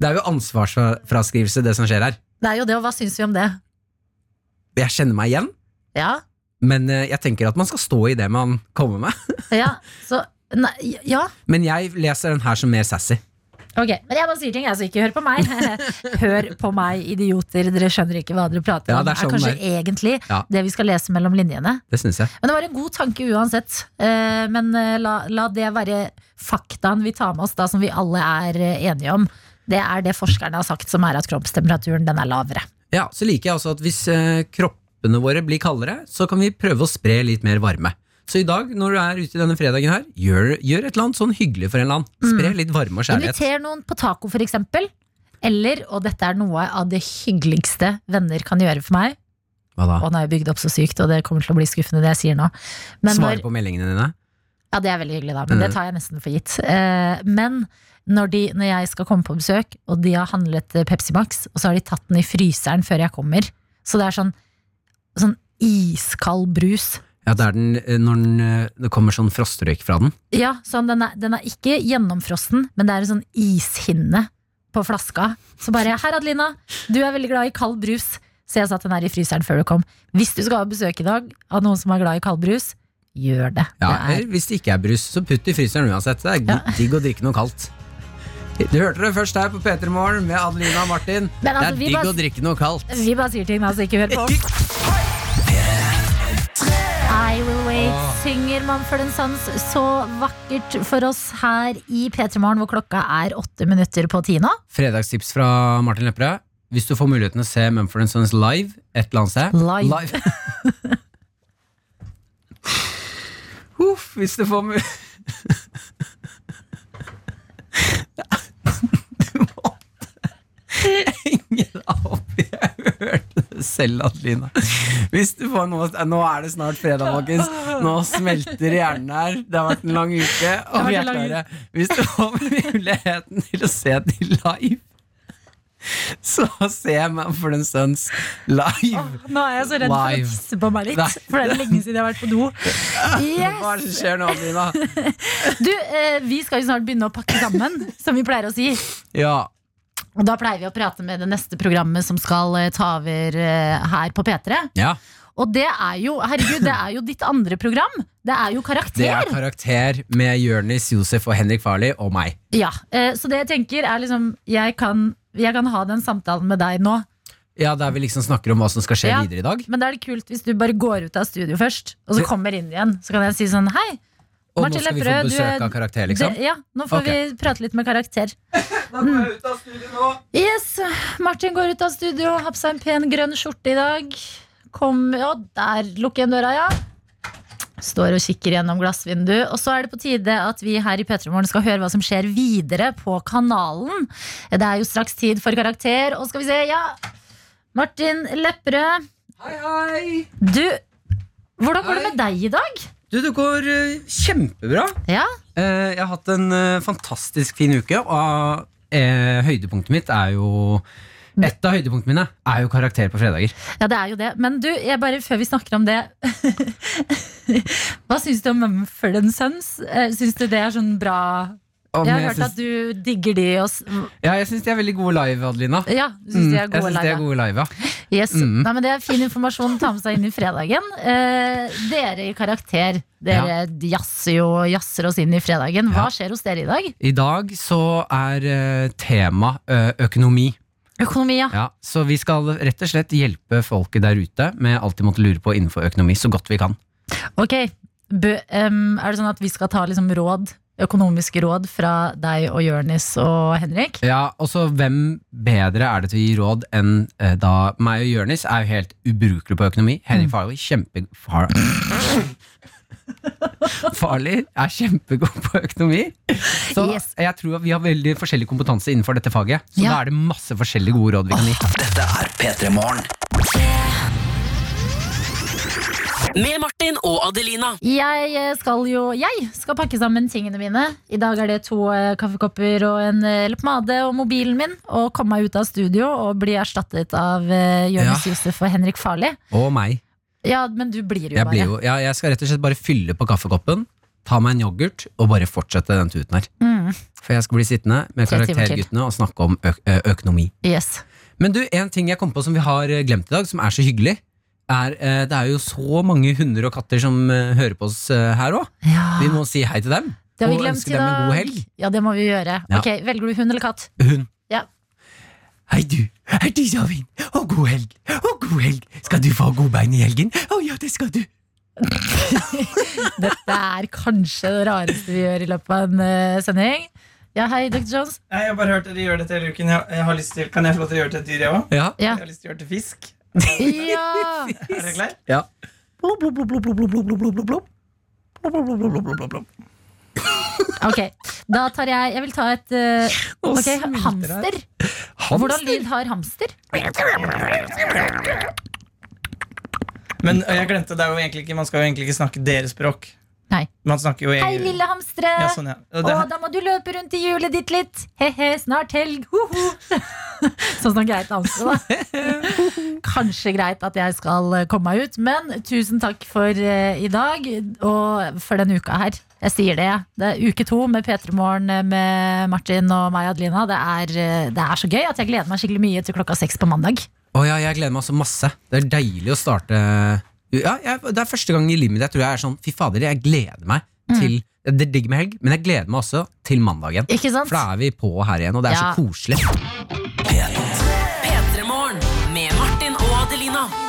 S4: Det er jo ansvarsfraskrivelse, det som skjer her.
S3: Det er jo det, og hva syns vi om det?
S4: Jeg kjenner meg igjen.
S3: Ja,
S4: Men eh, jeg tenker at man skal stå i det man kommer med. (laughs)
S3: ja, så Nei, ja.
S4: Men jeg leser den her som mer sassy.
S3: Ok, men jeg bare sier ting, jeg, så ikke hør på meg. (laughs) hør på meg, idioter. Dere skjønner ikke hva dere prater
S4: Ja,
S3: om.
S4: det er sånn
S3: kanskje
S4: det
S3: egentlig
S4: Ja.
S3: det vi skal lese mellom linjene.
S4: Det syns jeg.
S3: Men det var en god tanke uansett. Eh, Men eh, la, la det være faktaen vi tar med oss, da, som vi alle er eh, enige om. Det er det forskerne har sagt, som er at kroppstemperaturen den er lavere.
S4: Ja, Så liker jeg også at hvis eh, kroppene våre blir kaldere, så kan vi prøve å spre litt mer varme. Så i dag, når du er ute denne fredagen her, gjør, gjør et eller annet sånn hyggelig for en eller annen. Spre litt varme og kjærlighet.
S3: Mm. Inviter noen på taco, for eksempel. Eller, og dette er noe av det hyggeligste venner kan gjøre for meg
S4: Hva da?
S3: Og nå har jeg bygd opp så sykt, og det kommer til å bli skuffende, det jeg sier nå. Men når-
S4: Svare på meldingene dine?
S3: Ja, det er veldig hyggelig, da, men det tar jeg nesten for gitt. Eh, men når, de, når jeg skal komme på besøk, og de har handlet eh, Pepsi Max, og så har de tatt den i fryseren før jeg kommer, så det er sånn, sånn iskald brus.
S4: Ja, det er den eh, når den, eh, det kommer sånn frostrøyk fra den.
S3: Ja, sånn, den, er, den er ikke gjennomfrossen, men det er en sånn ishinne på flaska. Så bare 'Her, Adelina, du er veldig glad i kald brus'. Så jeg satte den her i fryseren før du kom. Hvis du skal ha besøk i dag av noen som er glad i kald brus, gjør det.
S4: Ja,
S3: det er
S4: eller Hvis det ikke er brus, så putt i fryseren uansett. Det er g- digg å drikke noe kaldt. Du hørte det først her på P3 Morgen med Adelina og Martin.
S3: Men altså,
S4: det er
S3: vi
S4: digg
S3: bare-
S4: å drikke noe kaldt.
S3: Vi bare sier ting, altså. Ikke hør på oss. I Will Wait synger Mumford Sons så vakkert for oss her i P3 Morgen, hvor klokka er åtte minutter på ti nå.
S4: Fredagstips fra Martin Lepperød. Hvis du får muligheten til å se Mumford Sons live et eller annet sted
S3: Live.
S4: (laughs) Uff, hvis du får mu... Du måtte Ingen av Jeg hørte det selv, Adelina. Hvis du får noe Nå er det snart fredag, folkens. Nå smelter hjernen her. Det har vært en lang uke, og vi er klare. Hvis du får muligheten til å se de live så se Manfred Sons live.
S3: Nå er jeg så redd for å
S4: Live.
S3: tisse på meg litt,
S4: Nei.
S3: for det er lenge siden jeg har vært på do.
S4: Hva er
S3: Yes.
S4: det som skjer nå, Adelina?
S3: Du, eh, vi skal jo snart begynne å pakke sammen, som vi pleier å si.
S4: Ja,
S3: Og da pleier vi å prate med det neste programmet som skal eh, ta over eh, her på P3.
S4: ja.
S3: Og det er jo, herregud, det er jo ditt andre program. Det er jo karakter.
S4: Det er karakter med Jørnis, Josef og Henrik Farley og meg.
S3: Ja, eh, Så det jeg tenker er liksom jeg kan, jeg kan ha den samtalen med deg nå.
S4: Ja, Der vi liksom snakker om hva som skal skje
S3: Ja.
S4: videre i dag.
S3: Men da er det kult hvis du bare går ut av studio først, og så
S4: Det-
S3: kommer inn igjen. Så kan jeg si sånn hei.
S4: Og
S3: Martin
S4: nå skal vi få
S3: Lepperød, du
S4: besøk
S3: er-
S4: av karakter, liksom.
S3: Det, ja, nå får
S4: Ok.
S3: vi prate litt med karakter.
S1: (laughs)
S3: Mm.
S1: Da går jeg ut av studio nå.
S3: Yes, Martin går ut av studio, har på seg en pen grønn skjorte i dag. Kom, ja, der lukker igjen døra, ja. Står og kikker gjennom glassvinduet. Og så er det på tide at vi her i Petremorgen skal høre hva som skjer videre på kanalen. Det er jo straks tid for karakter, og skal vi se, ja. Martin Lepperød,
S4: Hei, hei!
S3: du Hvordan går det
S4: Hei.
S3: med deg i dag?
S4: Du, det går eh, kjempebra.
S3: Ja,
S4: Eh, jeg har hatt en eh, fantastisk fin uke, og eh, høydepunktet mitt er jo Et av høydepunktene mine er jo karakter på fredager.
S3: ja, det er jo det. Men du, jeg bare, før vi snakker om det (laughs) Hva syns du om Mumford Sons? Eh, Syns du det er sånn bra
S4: Og
S3: Jeg har
S4: jeg
S3: hørt
S4: syns-
S3: at du digger de og s-
S4: Ja, jeg syns de er veldig gode live, Adelina.
S3: Ja, du syns de
S4: Mm,
S3: er
S4: jeg
S3: gode
S4: syns de er
S3: live.
S4: gode Mm. live, ja.
S3: ja. Yes. Nei, men det er fin informasjon å ta med seg inn i fredagen. Eh, dere i karakter, dere jazzer jo jazzer oss inn i fredagen. Hva
S4: Ja.
S3: skjer hos dere i dag?
S4: I dag så er eh, tema eh, økonomi.
S3: Økonomi, ja.
S4: Ja, så vi skal rett og slett hjelpe folket der ute med alt de måtte lure på innenfor økonomi, så godt vi kan.
S3: Ok. Bø, em, er det sånn at vi skal ta liksom råd? Økonomiske råd fra deg og Jørnis og Henrik?
S4: Ja, og så hvem bedre er det til å gi råd enn eh, da meg og Jørnis er jo helt ubrukelig på økonomi.
S3: Mm.
S4: Henrik Farley kjempefar... (laughs) Farley er kjempegod på økonomi. Så
S3: Yes.
S4: jeg tror at vi har veldig forskjellig kompetanse innenfor dette faget. Så
S3: Ja.
S4: da er det masse forskjellige gode råd vi kan gi.
S6: Dette er P3 Morgen.
S2: Med Martin og Adelina.
S3: Jeg eh, skal jo Jeg skal pakke sammen tingene mine. I dag er det to eh, kaffekopper og en eh, leppepomade og mobilen min. Og komme meg ut av studio og bli erstattet av uh, Jonis Josef og Henrik Farli.
S4: Og meg.
S3: Ja, men du blir jo
S4: Jeg,
S3: bare
S4: blir jo, ja, jeg skal rett og slett bare fylle på kaffekoppen, ta meg en yoghurt og bare fortsette den tuten her.
S3: Mm,
S4: For jeg skal bli sittende med
S3: Tre timer til.
S4: karakterguttene og snakke om ø ø økonomi.
S3: yes.
S4: Men du, en ting jeg kom på som vi har eh, glemt i dag, som er så hyggelig, er eh, det er jo så mange hunder og katter som eh, hører på oss eh, her òg.
S3: Ja,
S1: Ah.
S4: Vi må si hei til dem.
S3: det har vi
S4: og
S3: glemt
S4: ønske
S3: i
S4: dem en god
S3: dag.
S4: helg.
S3: Ja, det må vi gjøre.
S4: Ja.
S3: Ok, Velger du hund eller katt?
S4: Hund.
S3: Ja.
S4: Hei du, hei du, Savin, og god helg, og god helg. Skal du få godbein i helgen? Å ja, det skal du.
S3: Dette er kanskje det rareste vi gjør i løpet av en eh, sending. Ja, hei, Dr.
S4: (laughs)
S3: Jones.
S1: Nei, Jeg har bare hørt at de gjør dette hele uken. Jeg, jeg har lyst til, kan jeg få lov til å gjøre det til et dyr, jeg òg?
S4: Ja.
S3: Ja.
S1: Jeg har lyst til å gjøre det til fisk.
S3: ja.
S1: Er dere klar?
S4: ja.
S1: Blub, blub, blub, blub, blub, blub, blub, blub, blub, blub. Blub, blub, blub, blub, blub, blub, blub.
S3: Ok, da tar jeg Jeg vil ta et eh, ok, hamster. Hvordan
S4: eh,
S3: lyd har hamster?
S1: Men ø, jeg glemte, det er jo egentlig ikke, man skal jo egentlig ikke snakke deres språk.
S3: Nei.
S1: Man snakker jo i-
S3: Hei, lille hamstere!
S1: Ja, sånn, ja.
S3: Å,
S1: Og det,
S3: da må du løpe rundt i hjulet ditt litt! He-he, snart helg! Ho-ho! (laughs) sånn som Greit
S1: (laughs)
S3: Hamstre, da. Kanskje greit at jeg skal eh, komme meg ut, men tusen takk for eh, i dag og for denne uka her. Jeg sier det, jeg. Det er uke to med P3 Morgen eh, med Martin og meg, Adelina. Det er, eh, det er så gøy at jeg gleder meg skikkelig mye til klokka seks på mandag.
S4: Å ja, jeg gleder meg så masse. Det er deilig å starte eh, ja, jeg, Det er første gang i livet mitt jeg tror jeg er sånn Fy fader, jeg gleder meg til Det er digg med helg, men jeg gleder meg også til mandagen.
S3: Mm. Ikke sant?
S4: For da er vi på her igjen, og det er
S3: Ja.
S4: så koselig.
S2: P3 Morgen med Martin og Adelina.